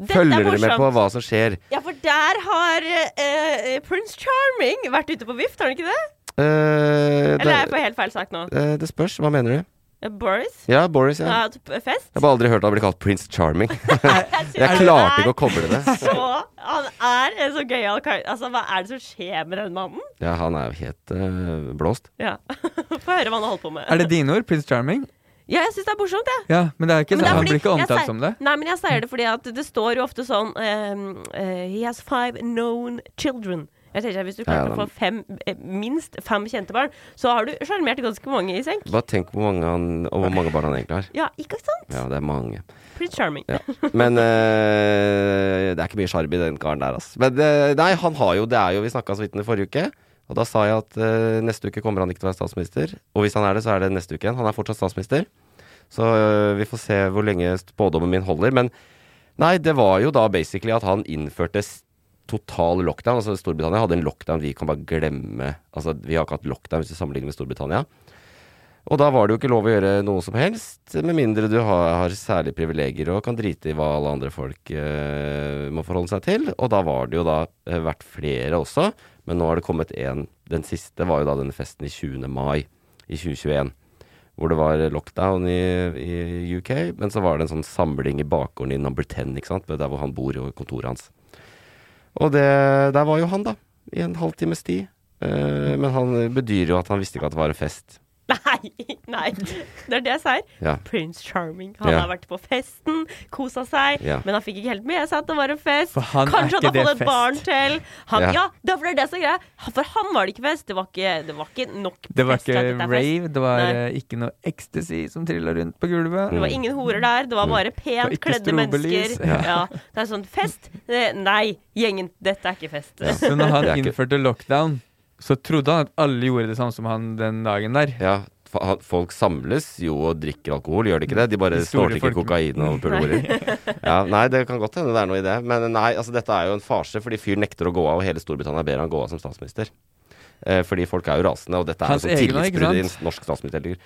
Dette er Følger dere med på morsomt. hva som skjer? Ja, for der har eh, eh, Prince Charming vært ute på vift, har han ikke det? Eh, Eller er jeg det, på helt feil sak nå? eh, det spørs. Hva mener du? Eh, Boris? Ja, Boris. Han Ja. har hatt p- fest? Jeg har bare aldri hørt han bli kalt prins Charming. Jeg synes Jeg han klarte er ikke å koble det. Så, han er en så gøyal kar. Altså, hva er det som skjer med den mannen? Ja, han er jo helt eh, blåst. Ja. Få høre hva han har holdt på med. Er det dine ord, prins Charming? Ja, jeg syns det er morsomt, jeg. Ja, men det er ikke Men det sånn. er Han fordi blir ikke jeg omtalt sier- som det. Nei, men jeg sier det fordi at det står jo ofte sånn ehm, eh, He has five known children. Jeg tenker at Hvis du klarte Ja, å få fem, eh, minst fem kjente barn, så har du sjarmert ganske mange i senk. Bare tenk hvor mange, han, og hvor mange barn han egentlig har. Ja, ikke sant? Ja, det er mange. Pretty charming. Ja. Men eh, det er ikke mye sjarm i den karen der, altså. Men eh, nei, han har jo Det er jo Vi snakka så vidt om det forrige uke. Og da sa jeg at eh, neste uke kommer han ikke til å være statsminister. Og hvis han er det, så er det neste uke igjen. Han er fortsatt statsminister. Så eh, vi får se hvor lenge spådommen min holder. Men nei, det var jo da basically at han innførte s- total lockdown. Altså Storbritannia hadde en lockdown vi kan bare glemme. Altså vi har ikke hatt lockdown hvis vi sammenligner med Storbritannia. Og da var det jo ikke lov å gjøre noe som helst, med mindre du har, har særlige privilegier og kan drite i hva alle andre folk eh, må forholde seg til. Og da var det jo da eh, vært flere også, men nå har det kommet én. Den siste var jo da denne festen i 20. mai i 2021. Hvor det var lockdown i, i UK, men så var det en sånn samling i bakgården i Number 10, ikke sant? der hvor han bor og kontoret hans. Og det, der var jo han, da. I en halvtimes tid. Eh, men han bedyrer jo at han visste ikke at det var en fest. Nei, nei. Det er det jeg sier. Ja. Prince Charming. Han Ja. har vært på festen, kosa seg, Ja. men han fikk ikke helt med seg at det var en fest. For han er Kanskje ikke han har fått det et fest. barn til. Han, Ja. ja. det er for det er det som er greia. For han var det ikke fest. Det var ikke, det var ikke nok fest. Det var til at dette ikke er fest. rave, det var Nei. eh, ikke noe ecstasy som trilla rundt på gulvet. Det var ingen horer der, Mm. det var bare pent Og ikke kledde mennesker. strobelys. Ja. Det er sånn fest. Eh, Nei, gjengen, dette er ikke fest. Så når han Det er ikke- innførte lockdown, så trodde han at alle gjorde det samme som han den dagen der. Ja, fa- ha- folk samles jo og drikker alkohol, gjør de ikke det? De bare De store snorter ikke folk- kokain og pulorer. ja, nei, det kan godt hende det er noe i det. Men nei, altså dette er jo en farse, fordi fyr nekter å gå av, og hele Storbritannia ber han gå av som statsminister. Eh, fordi folk er jo rasende, og dette er Hans jo sånn egne, ikke tillitsbrudd i sant? en norsk statsminister.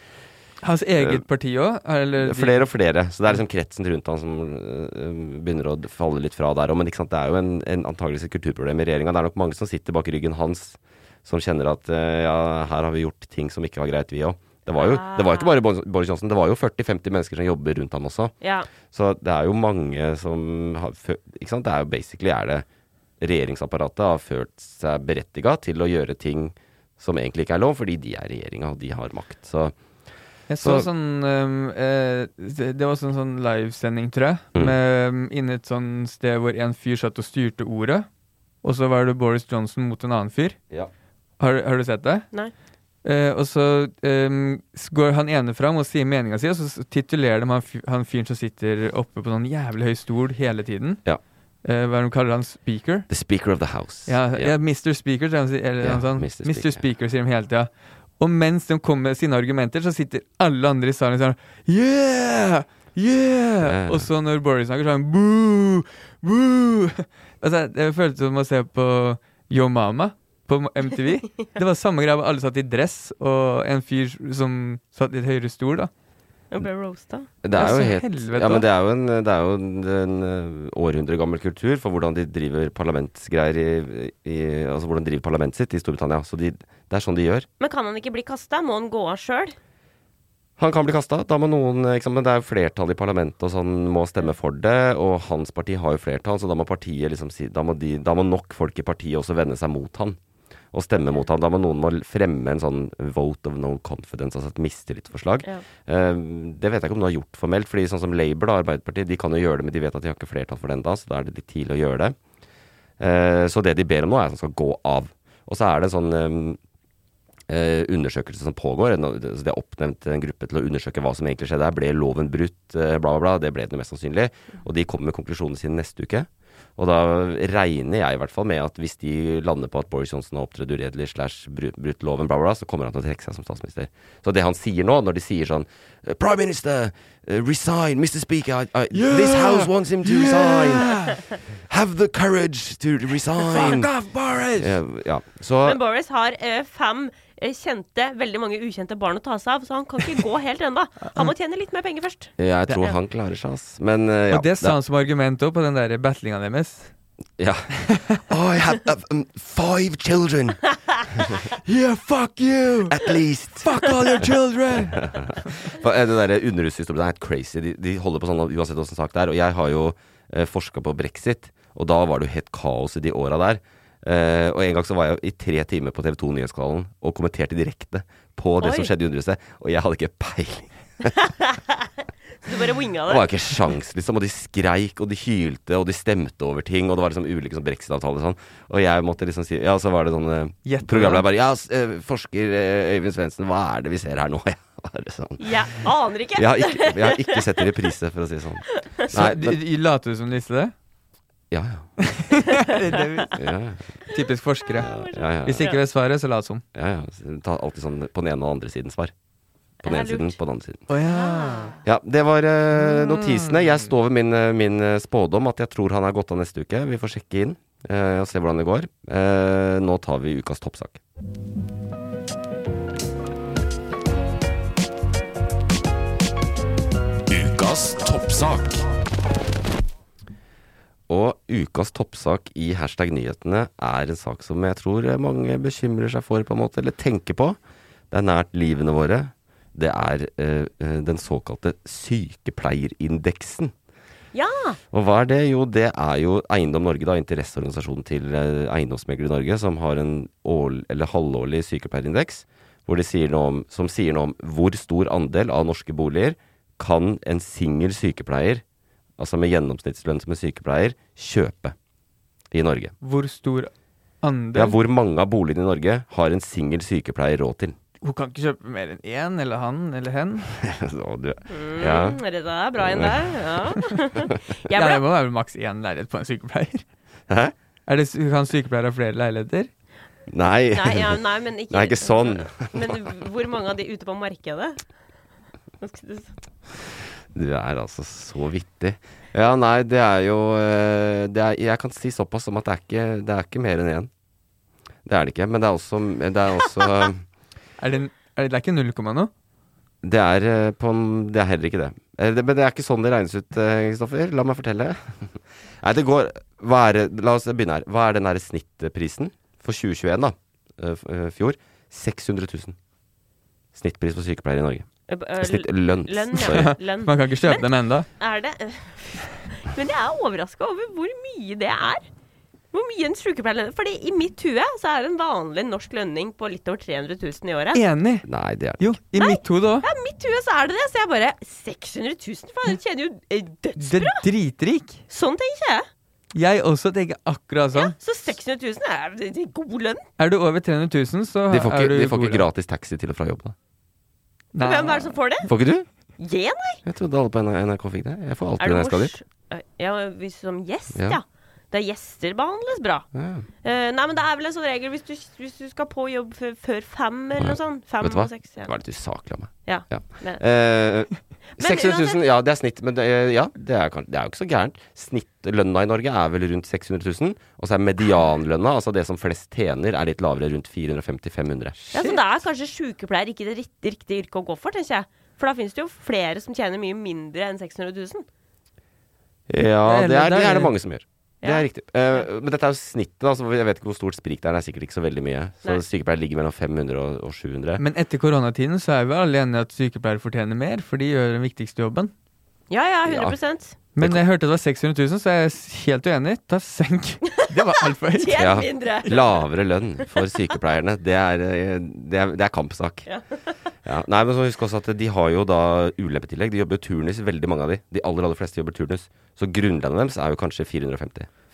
Hans eget parti òg, eller Eh, Eh, de- Flere og flere. Så det er liksom kretsen rundt han som øh, begynner å d- falle litt fra der òg. Men ikke sant? det er jo en, en antageligvis et kulturproblem i regjeringa. Det er nok mange som sitter bak ryggen hans som kjenner at øh, ja, her har vi gjort ting som ikke var greit, vi òg. Det var jo det var jo ikke bare Boris Boris Johnson, det var jo 40-50 mennesker som jobber rundt ham også. Ja. Så det er jo mange som har fø- Ikke sant? Det er jo basically er det regjeringsapparatet har følt seg berettiga til å gjøre ting som egentlig ikke er lov, fordi de er regjeringa, og de har makt. Så Jeg så Så- sånn um, eh, Det det var sånn, sånn livesending, tror jeg. Mm. Med, um, inne et sånn sted hvor en fyr satt og styrte ordet. Og så var det Boris Johnson mot en annen fyr. ja. Har, har du sett det? Nei. Eh, og så um, s- går han ene fram og sier meninga si, og så s- titulerer de han, fy- han fyren som sitter oppe på sånn jævlig høy stol hele tiden. Ja. Eh, hva er det de kaller han? Speaker? The Speaker of the House. Ja, Ja. ja. Mr. Speaker, tror jeg, han sier- eller Ja, noe sånt. Mr. Mr. Speaker. Speaker. sier de hele tida. Og mens de kommer med sine argumenter, så sitter alle andre i salen og sier Yeah! Yeah! Ja. Og så når Boris snakker, så er han boo! Boo! Altså, det føltes som å se på Yo Mama på MTV. Det var samme greia, hvor alle satt i dress, og en fyr som satt i et høyere stol, da. Jeg ble roasta. Det er Ja, jo så helt helvete, Ja, men da. det er jo en, det er jo en, en eh, århundre gammel kultur for hvordan de driver parlamentsgreier i, i Altså hvordan de driver parlamentet sitt i Storbritannia. Så de, det er sånn de gjør. Men kan han ikke bli kasta? Må han gå av sjøl? Han kan bli kasta. Da må noen eh, ikke sant, Men det er jo flertall i parlamentet, og sånn må stemme for det. Og hans parti har jo flertall, så da må partiet liksom si Da må, de, da må nok folk i partiet også vende seg mot han. Og stemme mot han. Da må noen må fremme en sånn vote of no confidence, altså et mistillitsforslag. Ja. Eh, det vet jeg ikke om du har gjort formelt, fordi sånn som Labour, da, Arbeiderpartiet, de kan jo gjøre det, men de vet at de har ikke flertall for den da, så da er det litt tidlig å gjøre det. Eh, så det de ber om nå, er at han skal gå av. Og så er det en sånn eh, eh, undersøkelse som pågår. en- altså De har oppnevnt en gruppe til å undersøke hva som egentlig skjedde her. Ble loven brutt? eh, Bla, bla, bla. Det ble den jo mest sannsynlig. Og de kommer med konklusjonene sine neste uke. Og da regner jeg i hvert fall med at hvis de lander på at Boris Johnson har opptrådt uredelig slash bru- brutt loven, bla, bla, bla, så kommer han til å trekke seg som statsminister. Så det han sier nå, når de sier sånn Prime Minister, eh, resign, Mr. Speaker, I, I, this house wants him to resign. Have the courage to resign. off, Boris! Ja, ja. Så Men Boris har eh, fem eh, kjente, veldig mange ukjente barn å ta seg av, så han kan ikke gå helt ennå. Han må tjene litt mer penger først. jeg tror han klarer seg, ass. Men eh, ja. og det sa han som argument òg, på den der battlinga deres. ja. I have uh, um, five children, Yeah, fuck you! at least. Fuck all your children! For, eh, Det der underhuset i Storbritannia er helt crazy. De, de holder på sånn uansett åssen sak det er. Og jeg har jo eh, forska på brexit, og da var det jo helt kaos i de åra der. Eh, og en gang så var jeg i tre timer på TV2 Nyhetskanalen og kommenterte direkte på det Oi. som skjedde i Underhuset, og jeg hadde ikke peiling. Du bare winga Det det. var ikke sjans, liksom. Og de skreik, og de hylte, og de stemte over ting. Og det var liksom ulike sånn brexit-avtaler og sånn. Og jeg måtte liksom si Ja, så var det sånn eh, Gjett Programleder det. bare Ja, s- eh, forsker eh, Øyvind Svendsen, hva er det vi ser her nå? Jeg bare sånn Jeg aner ikke. jeg har, ikke, jeg har ikke sett det i reprise, for å si det sånn. Så Nei, de, men, de later du som de visste det? ja, ja. Det er det vi- Ja, Typisk forskere. ja, ja, Hvis de ikke vet svaret, så lat som. ja, ja. Ta alltid sånn på den ene og den andre siden svar. På den Det er ene siden, lurt. på den andre siden. Å Ah. ja. Ja, det var eh, notisene. Jeg står ved min, eh, min eh, spådom at jeg tror han er gått av neste uke. Vi får sjekke inn eh, og se hvordan det går. Eh, nå tar vi ukas toppsak. Ukas toppsak. Og ukas toppsak i hashtag nyhetene er en sak som jeg tror mange bekymrer seg for, på en måte, eller tenker på. Det er nært livene våre. Det er eh, eh, den såkalte sykepleierindeksen. Ja! Og hva er det? Jo, det er jo Eiendom Norge, da, interesseorganisasjonen til eh, eiendomsmeglere i Norge, som har en årl- eller halvårlig sykepleierindeks hvor de sier noe om, som sier noe om hvor stor andel av norske boliger kan en singel sykepleier, altså med gjennomsnittslønn som en sykepleier, kjøpe i Norge. Hvor stor andel? Ja, hvor mange av boligene i Norge har en singel sykepleier råd til? Hun kan ikke kjøpe mer enn én, eller han, eller hen. Så du, Mm, ja. Det der er bra igjen der. Ja. Jeg Ja, ble det må være maks én leilighet på en sykepleier. Hæ? Er det, kan sykepleiere ha flere leiligheter? Nei. Nei, ja, nei, men ikke, Nei, ikke sånn. Men hvor mange av de ute på markedet? Du er altså så vittig. Ja, nei, det er jo eh, det er, Jeg kan si såpass som at det er ikke, det er ikke mer enn én. Det er det ikke. Men det er også Det er, også, Er det, en- er det, det er ikke null komma noe? det er, eh, på, en- det er heller ikke det. Eh, det. Men det er ikke sånn det regnes ut, eh, Kristoffer. La meg fortelle. Nei, det går hva er, det- La oss begynne her. Hva er den her snittprisen for 2021, da? eh, f- eh, Fjor. 600 000. Snittpris for sykepleiere i Norge. Øh, øh, Snitt, lønn. Lønn, Sorry. ja. Lønn. Man kan ikke kjøpe dem enda Er det Men jeg er overraska over hvor mye det er. Hvor mye en sykepleier Fordi i mitt hue så er en vanlig norsk lønning på litt over 300 000 i året. Enig! Nei, det er det Jo, i mitt hode òg. Ja, i mitt hue så er det det. Så jeg bare 600 000? Faen, jeg tjener jo eh, døds... Det er dritrik. Sånn tenker jeg. Jeg også tenker akkurat Ja, sånn. så 600 000 er, det er god lønn. Er du over 300 000, så De får er du ikke, de får god ikke lønn. gratis taxi til og fra jobb, da. Nei. Hvem er det som får det? Får ikke du? Je, nei. Jeg trodde alle på NRK fikk det. Jeg får Er alltid det det når jeg skal mors- dit. Eh, Ja, hvis som gjest, Ja. ja. Der gjester behandles bra. Ja. Eh, nei, men det er vel en sånn regel hvis du, hvis du skal på jobb før, før fem eller noe sånt. Fem Vet du hva? og seks. Ja. Det var litt usaklig av meg. Ja. Ja. Men- Eh, Men 600 uansett- 000, ja det er snitt, men det, er- ja, det, er, kan- det er jo ikke så gærent. Snittlønna i Norge er vel rundt 600 000, og så er medianlønna, altså det som flest tjener, er litt lavere, rundt 450-500. Ja, så da er kanskje sykepleier ikke det rikt- riktige yrket å gå for, tenker jeg. For da finnes det jo flere som tjener mye mindre enn 600 000. Ja, Eller det er, det det er- er det mange som gjør. Det Ja. er riktig. Eh, men dette er jo snittet, da, så jeg vet ikke hvor stort sprik det er. Det er sikkert ikke så veldig mye. Så Nei. sykepleier ligger mellom 500 og, og 700. Men etter koronatiden så er vi alle enige at sykepleiere fortjener mer, for de gjør den viktigste jobben. Ja, ja, Ja. 100 Men jeg hørte det var 600 000, så jeg er helt uenig. Ta senk. Det var altfor høyt. Tjen Ja. mindre! Lavere lønn for sykepleierne, det er, eh, det er, det er kampsak. Ja. Nei, men så husk også at de har jo da ulempetillegg. De jobber turnus, veldig mange av de. De aller, aller fleste jobber turnus. Så grunnlønnen deres er jo kanskje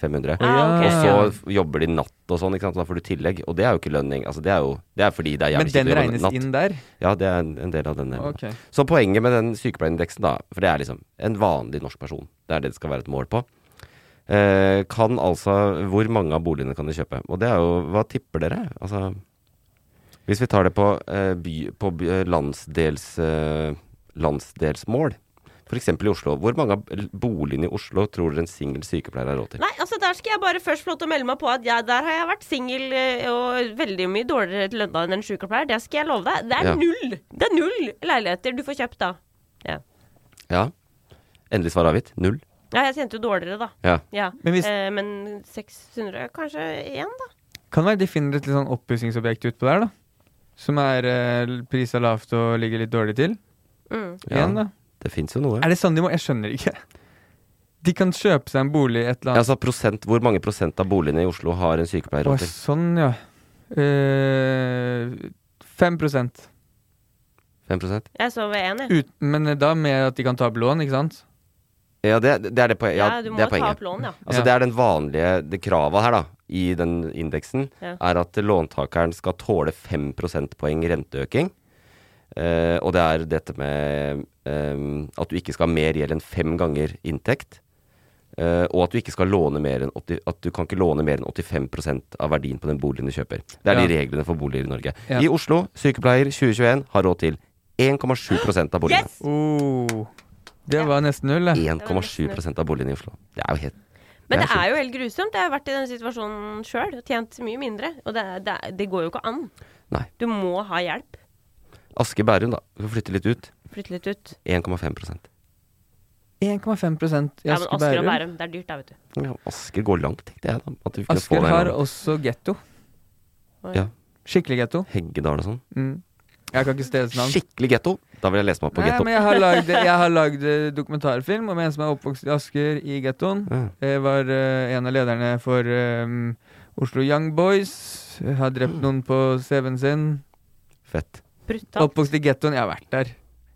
450-500. Ah, ok. Og så f- jobber de natt og sånn, ikke sant? så da får du tillegg. Og det er jo ikke lønning. Altså, det, er jo, det er fordi det er Men jævlig kjipt å den jobbe regnes natt. inn der. Ja, det er en, en del av den. delen. Ok. Så poenget med den sykepleierindeksen, da, for det er liksom en vanlig norsk person, det er det det skal være et mål på, eh, kan altså Hvor mange av boligene kan de kjøpe? Og det er jo Hva tipper dere? Altså Hvis vi tar det på, eh, by, på by, eh, landsdels, eh, landsdelsmål, f.eks. i Oslo, hvor mange av l- boligene i Oslo tror dere en singel sykepleier har råd til? Nei, altså der skal jeg bare først få lov til å melde meg på at jeg, der har jeg vært singel eh, og veldig mye dårligere lønna enn en sykepleier. Det skal jeg love deg. Det er Ja. null! Det er null leiligheter du får kjøpt da. Ja, Ja. Endelig svar avgitt. Null. ja jeg tjente jo dårligere, da. Ja. Ja. Men hvis- eh, men 600 kanskje én, da? Kan være de finner et litt sånn oppussingsobjekt utpå der, da. Som er eh, prisa lavt og ligger litt dårlig til. Mm. Ja. Igjen, da. Det fins jo noe. Er det sånn de må Jeg skjønner ikke. De kan kjøpe seg en bolig et Ja, eller annet altså prosent, Hvor mange prosent av boligene i Oslo har en sykepleier Å, råd til? Sånn, ja. Eh, 5 5 prosent? Jeg så ved én, jeg. Ut, Men da med at de kan ta opp lån, ikke sant? Ja, det, det er det poenget. Ja, du må det er ta poenget. opp lån, ja. Altså, Ja. Det er den vanlige det kravet her, da, i den indeksen, Ja. er at låntakeren skal tåle 5 prosentpoeng renteøkning. Eh, og det er dette med eh, at du ikke skal ha mer gjeld enn fem ganger inntekt. eh, og at du ikke skal låne mer enn 80, at du kan ikke låne mer enn 85 av verdien på den boligen du kjøper. Det er Ja. de reglene for boliger i Norge. Ja. I Oslo, sykepleier 2021 har råd til 1,7 av boligene. Yes! Oh, det var nesten null, det. 1,7 av boligene i Oslo. Det er jo helt Men det sjukt. er jo helt grusomt. Jeg har vært i den situasjonen sjøl og tjent mye mindre. Og det, er- det, er- det går jo ikke an. Nei. Du må ha hjelp. Aske Bærum, da. Du får flytte litt ut. Flytt litt ut. 1,5 1,5 i Ja, men Asker Asker og Bærum. Bærum, det er dyrt da, vet du. ja, Asker går langt, tenkte jeg. da At vi kunne få Asker det en har gang. også getto. Ja. Skikkelig getto. Heggedal og sånn. Mm. Jeg kan ikke stedets navn. Skikkelig getto! Da vil jeg lese meg opp på Nei, getto. men jeg har lagd, jeg har lagd eh, dokumentarfilm om en som er oppvokst i Asker, i gettoen. Ja. Jeg var eh, en av lederne for eh, Oslo Young Boys. Jeg har drept noen på CV-en sin. Fett. Brutalt. Oppvokst i gettoen. Jeg har vært der.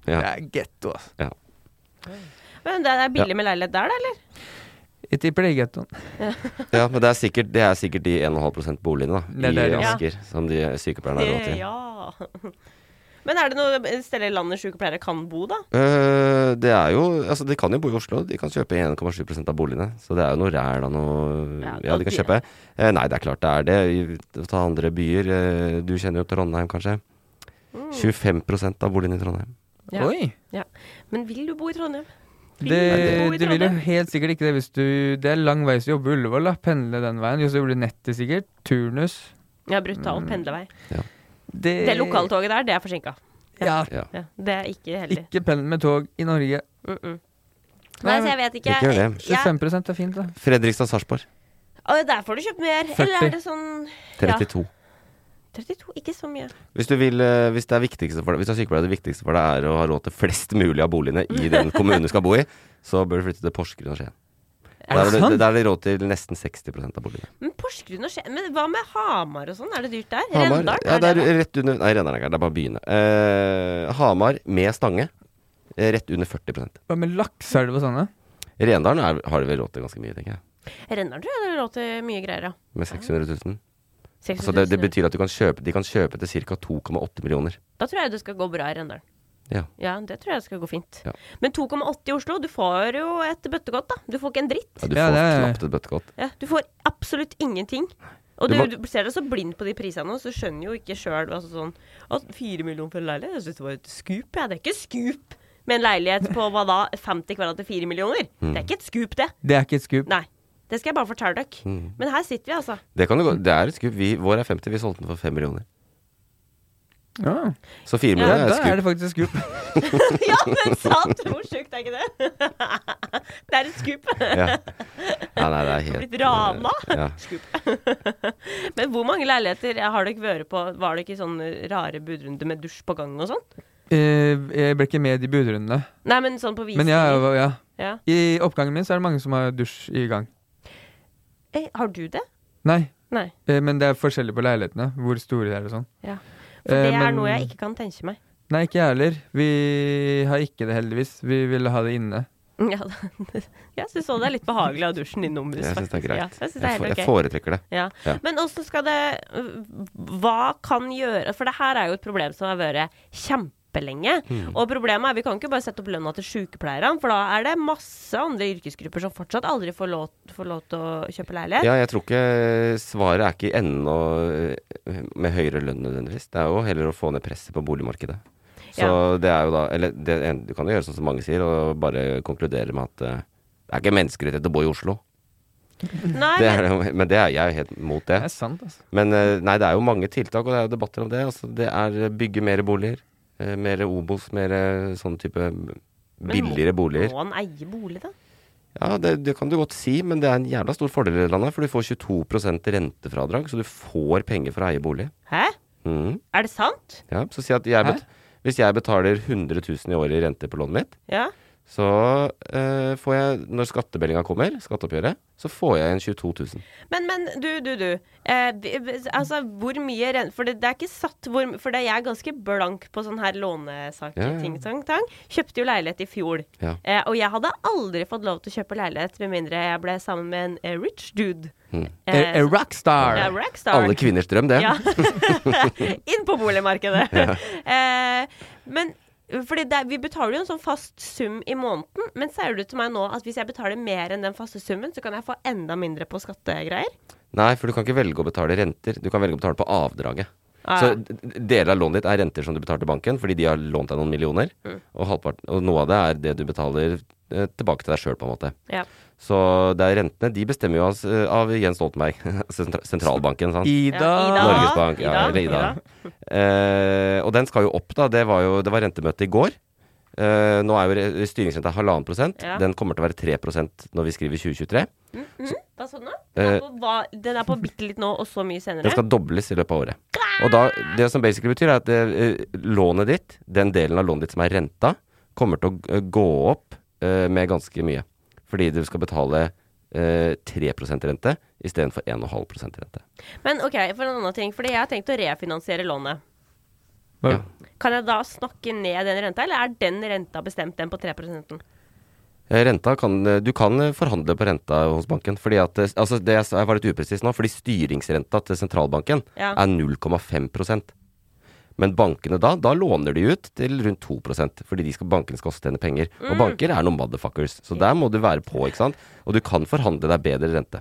Ja. Det er getto, altså. Men det er billig med leilighet der, da, eller? Jeg tipper det er gettoen. ja, men det er sikkert, det er sikkert de 1,5 boligene da Det er i det, ja. Asker som de sykepleierne har råd til. ja. Men er det noe sted i landet sykepleiere kan bo, da? Eh, det er jo Altså, de kan jo bo i Oslo. De kan kjøpe 1,7 av boligene. Så det er jo noe ræl av noe Ja, Ja, da de kan blir- kjøpe. Eh, nei, det er klart det er det. I- Ta andre byer. eh, du kjenner jo Trondheim, kanskje. Mm. 25 av boligene i Trondheim. Ja. Oi! Men vil du bo i Trondheim? Vil Det, du bo i du vil jo Trondheim? helt sikkert ikke det hvis du Det er lang vei til å jobbe i Ullevål, da. Pendle den veien. Jo, så blir det nettet sikkert. Turnus. Ja, brutal pendlevei. Det, Det lokaltoget der, det er forsinka. Ja. Ja. Ja, det er ikke heldig. Ikke pendle med tog i Norge. Mm -mm. Nei, Nei, så jeg vet ikke. Ikke gjør det. Jeg- 25 er fint, da. Fredrikstad-Sarpsborg. Å, der får du kjøpt mer. Eller er 40. det sånn Ja. 32. 32? Ikke så mye. Hvis du vil, eh, hvis det er viktigste for deg Hvis du er sykepleier, det viktigste for deg er å ha råd til flest mulig av boligene i den kommunen du skal bo i, så bør du flytte til Porsgrunn og Skien. Der det er sant? det, der er det råd til nesten 60 av boligene. Men Porsgrunn og Skien Men hva med Hamar og sånn? Er det dyrt der? Hamar, Rendalen? ja, er det det er rett under Nei, Rendalen er ikke her, det er bare byene. Eh, Hamar med Stange, eh, rett under 40 Hva med lakseelv og sånne? Rendalen er, har de vel råd til ganske mye, tenker jeg. Rendalen tror jeg det er råd til mye greier, ja. Med 600 000. 600 Så Altså, det, det 000. betyr at du kan kjøpe, de kan kjøpe til ca. 2,8 millioner. Da tror jeg det skal gå bra i Rendalen. Ja. Ja, det tror jeg skal gå fint. Ja. Men 2,80 i Oslo, du får jo et bøttekott, da. Du får ikke en dritt. Ja, du Ja, får det knapt et bøttekott. Ja, du får absolutt ingenting. Og Du du, må- du ser deg så blind på de prisene nå, så du skjønner jo ikke sjøl altså sånn, at fire millioner for en leilighet, jeg syns det var et skup, jeg. Det er ikke skup! med en leilighet på hva da, 50 kvadrat til 4 millioner. Det er ikke et skup, det. Det er ikke et skup. Nei. Det skal jeg bare fortelle dere. Men her sitter vi, altså. Det, kan du, gå- det er et skup. Vi, vår er 50, vi solgte den for 5 millioner. Ja. Så 4 Ja, millioner er et da er skup. Ah, det faktisk et skup. ja, men sant! Hvor sjukt er ikke det? det er et skup. Ja. ja, nei, det er helt eh, Blitt rana. Ja. Men hvor mange leiligheter har dere vært på? Var det ikke sånn rare budrunde med dusj på gangen og sånn? Eh, Jeg ble ikke med i de budrundene. Nei, men sånn på Men visning. jeg, ja. ja. i oppgangen min så er det mange som har dusj i gang. Eh, har du det? Nei, Nei. eh, men det er forskjellig på leilighetene, hvor store de er og sånn. Ja. For Eh, det er men- noe jeg ikke kan tenke meg. Nei, ikke jeg heller. Vi har ikke det, heldigvis. Vi ville ha det inne. Ja, jeg syns også det er litt behagelig å ha dusjen innomhus. Jeg syns det er faktisk. Ja, greit. jeg synes det er Jeg fo- helt ok. jeg foretrekker det. Ja. Ja. Men åssen skal det Hva kan gjøre For det her er jo et problem som har vært kjempelenge. Hmm. Og problemet er vi kan ikke bare sette opp lønna til sykepleierne, for da er det masse andre yrkesgrupper som fortsatt aldri får lov, får lov til å kjøpe leilighet. Ja, jeg tror ikke svaret er ikke i enden og, eh, med høyere lønn nødvendigvis. Det er jo heller å få ned presset på boligmarkedet. Så Ja. det er jo da Eller det, en- du kan jo gjøre sånn som mange sier, og bare konkludere med at eh, det er ikke menneskerettighet å bo i Oslo. Nei, Det men, er, det jo- men det er jeg er helt mot Det er det. sant, altså. Men eh, nei, det er jo mange tiltak, og det er jo debatter om det. Altså, det er bygge mer boliger. eh, Mer Obos, mer eh, sånn type billigere boliger. Må han eie bolig, da? Ja, det, det kan du godt si, men det er en jævla stor fordel i landet. For du får 22 rentefradrag, så du får penger for å eie bolig. Hæ? Mhm. Er det sant? Ja, så si at jeg Hæ? bet hvis jeg betaler 100 000 i året i rente på lånet mitt, Ja. så eh, får jeg, når skattemeldinga kommer, skatteoppgjøret, så får jeg en 22 000. Men, men du, du, du. Eh, vi- vi- altså, hvor mye ren... For det, det er ikke satt hvor For det, jeg er ganske blank på sånn her lånesaker. Ja, ja. ting, tang, tang. Kjøpte jo leilighet i fjor. Ja. Eh, og jeg hadde aldri fått lov til å kjøpe leilighet med mindre jeg ble sammen med en eh, rich dude. Hmm. A, a Eh, rockstar! ja, rockstar. Alle kvinners drøm, det. Ja. Inn på boligmarkedet. Eh, men fordi det, er- vi betaler jo en sånn fast sum i måneden, men sier du til meg nå at hvis jeg betaler mer enn den faste summen, så kan jeg få enda mindre på skattegreier? Nei, for du kan ikke velge å betale renter. Du kan velge å betale på avdraget. Ah, Så ja. d- d- deler av lånet ditt er renter som du betaler til banken fordi de har lånt deg noen millioner. Mm. Og, halvparten, og noe av det er det du betaler eh, tilbake til deg sjøl, på en måte. Ja. Så det er rentene. De bestemmer jo av, eh, av Jens Stoltenberg, sentra- sentralbanken. Sant? Ida. Ja, Ida. Norges Bank. Ja, Ida, eller Ida. Eh, og den skal jo opp, da. Det var, jo, det var rentemøte i går. Eh, nå er jo re- styringsrenta halvannen prosent. Ja. Den kommer til å være 3 når vi skriver 2023. Mhm. Hva sa du nå? Eh, Den er på hva- Den er på bitte litt nå, og så mye senere? Den skal dobles i løpet av året. Og da, det som basically betyr, er at eh, lånet ditt, den delen av lånet ditt som er renta, kommer til å eh, gå opp eh, med ganske mye. Fordi du skal betale eh, 3 rente istedenfor 1,5 rente. Men OK, for en annen ting. Fordi jeg har tenkt å refinansiere lånet. Hva- Kan jeg da snakke ned den renta, eller er den renta bestemt, den på 3 Eh, Renta kan, eh, du kan eh, forhandle på renta hos banken. Fordi at, eh, altså det jeg sa- jeg var litt upresis nå, fordi styringsrenta til sentralbanken Ja. er 0,5 Men bankene da, da låner de ut til rundt 2 fordi de skal, bankene skal også tjene penger. Mm. Og banker er noen motherfuckers, så der må du være på, ikke sant. Og du kan forhandle deg bedre rente.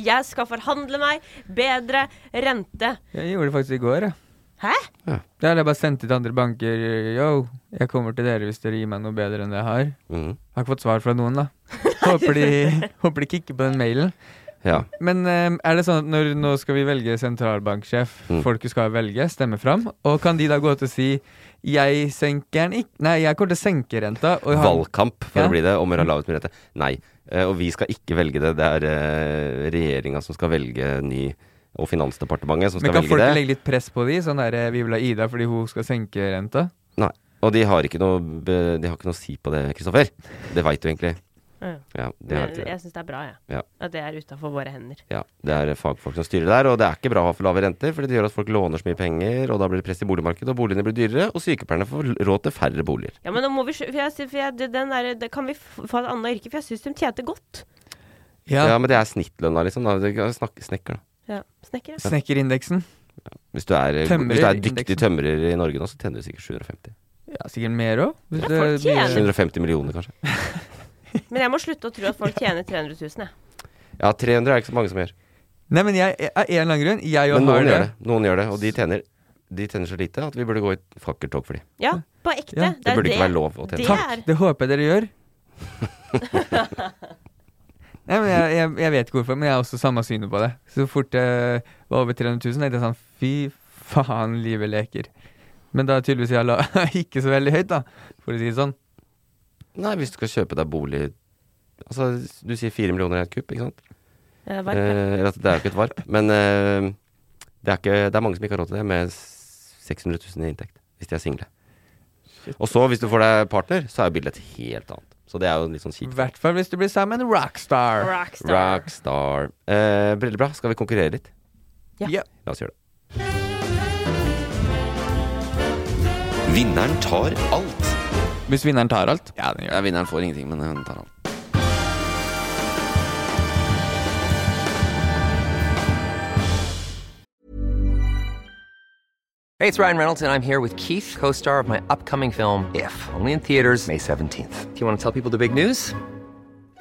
Jeg skal forhandle meg bedre rente. Jeg gjorde det faktisk i går, jeg. Hæ? Det har jeg bare sendt til andre banker. Yo, jeg kommer til dere hvis dere gir meg noe bedre enn det jeg har. Mhm. Har ikke fått svar fra noen, da. Håper de, håper de kikker på den mailen. Ja. Men eh, er det sånn at når nå skal vi velge sentralbanksjef, Mm. folket skal velge, stemme fram, og kan de da gå til å si jeg senker den ikke Nei, jeg kommer til å senke renta. Og han- Valgkamp for Ja. å bli det, om å gjøre lavest mulig rente. Nei. Eh, Og vi skal ikke velge det. Det er eh, regjeringa som skal velge ny, og Finansdepartementet som skal Men kan velge folk det. legge litt press på de? Sånn der, eh, vi vil ha Ida fordi hun skal senke renta? Nei. Og de har ikke noe, be- de har ikke noe å si på det, Kristoffer. Det veit du egentlig. Ja. Ja, det har Men ikke det. jeg syns det er bra, jeg. Ja. At det er utafor våre hender. Ja, det er fagfolk som styrer der, og det er ikke bra å ha for lave renter, fordi det gjør at folk låner så mye penger, og da blir det press i boligmarkedet, og boligene blir dyrere, og sykepleierne får råd til færre boliger. Ja, men nå må vi skj- for jeg, sy- for jeg, det- den der, det, Kan vi f- få et annet yrke? For jeg syns de tjente godt. Ja. Ja. men det er snittlønna, liksom. Da. Det er snak- Snekker, da. Ja, Snekker, ja. Snekkerindeksen? Hvis du er, Tømrer, hvis du er dyktig indeksen. tømrer i Norge nå, så tjener du sikkert 750. Ja, sikkert mer òg. Ja, folk tjener. 750 millioner, kanskje. Men jeg må slutte å tro at folk tjener 300 000, jeg. Ja, 300 er det ikke så mange som gjør. Nei, men jeg, av en eller annen grunn, jeg jo Men har noen det. gjør det. Noen gjør det, og de tjener de tjener så lite at vi burde gå i fakkeltog for dem. Ja, på ekte. Ja, Det burde er ikke være lov å det tjene. er- Takk, det håper jeg dere gjør. Nei, men jeg, jeg, jeg vet ikke hvorfor, men jeg har også samme synet på det. Så fort det var over 300 000, tenkte jeg sånn fy faen, livet leker. Men da er tydeligvis jeg la ikke så veldig høyt, da, for å si det sånn. Nei, hvis du skal kjøpe deg bolig Altså, du sier fire millioner i et kupp, ikke sant? Ja, Eh, bare- Eller at det er jo ikke et varp. Men eh, det, er ikke, det er mange som ikke har råd til det, med s- 600 000 i inntekt. Hvis de er single. Og så, hvis du får deg partner, så er jo bildet et helt annet. Så det er jo litt sånn I kjipt. hvert fall hvis du blir sammen med en rockstar. Rockstar. Eh, Rockstar. Eh, Brillebra, skal vi konkurrere litt? Ja. Ja. La oss gjøre det. Vinneren tar alt. Hvis vinneren tar alt. Ja, den gjør det. Ja, vinneren får ingenting, men hun tar alt. Hey, it's Ryan Reynolds, and I'm here with Keith, co star of my upcoming film, If, only in theaters, May 17th. Do you want to tell people the big news?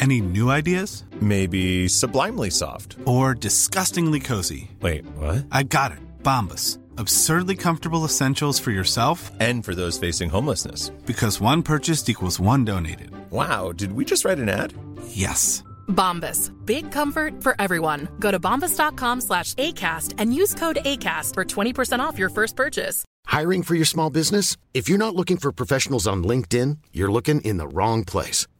Any new ideas? Maybe sublimely soft. Or disgustingly cozy? Wait, what? I got it. Bombus. Absurdly comfortable essentials for yourself And for those facing homelessness. because one purchased equals one donated. Wow, did we just write an ad? Yes. Bombas. Big comfort for everyone. Go to bombas.com slash ACAST and use code ACAST for 20% off your first purchase. Hiring for your small business? If you're not looking for professionals on LinkedIn, you're looking in the wrong place.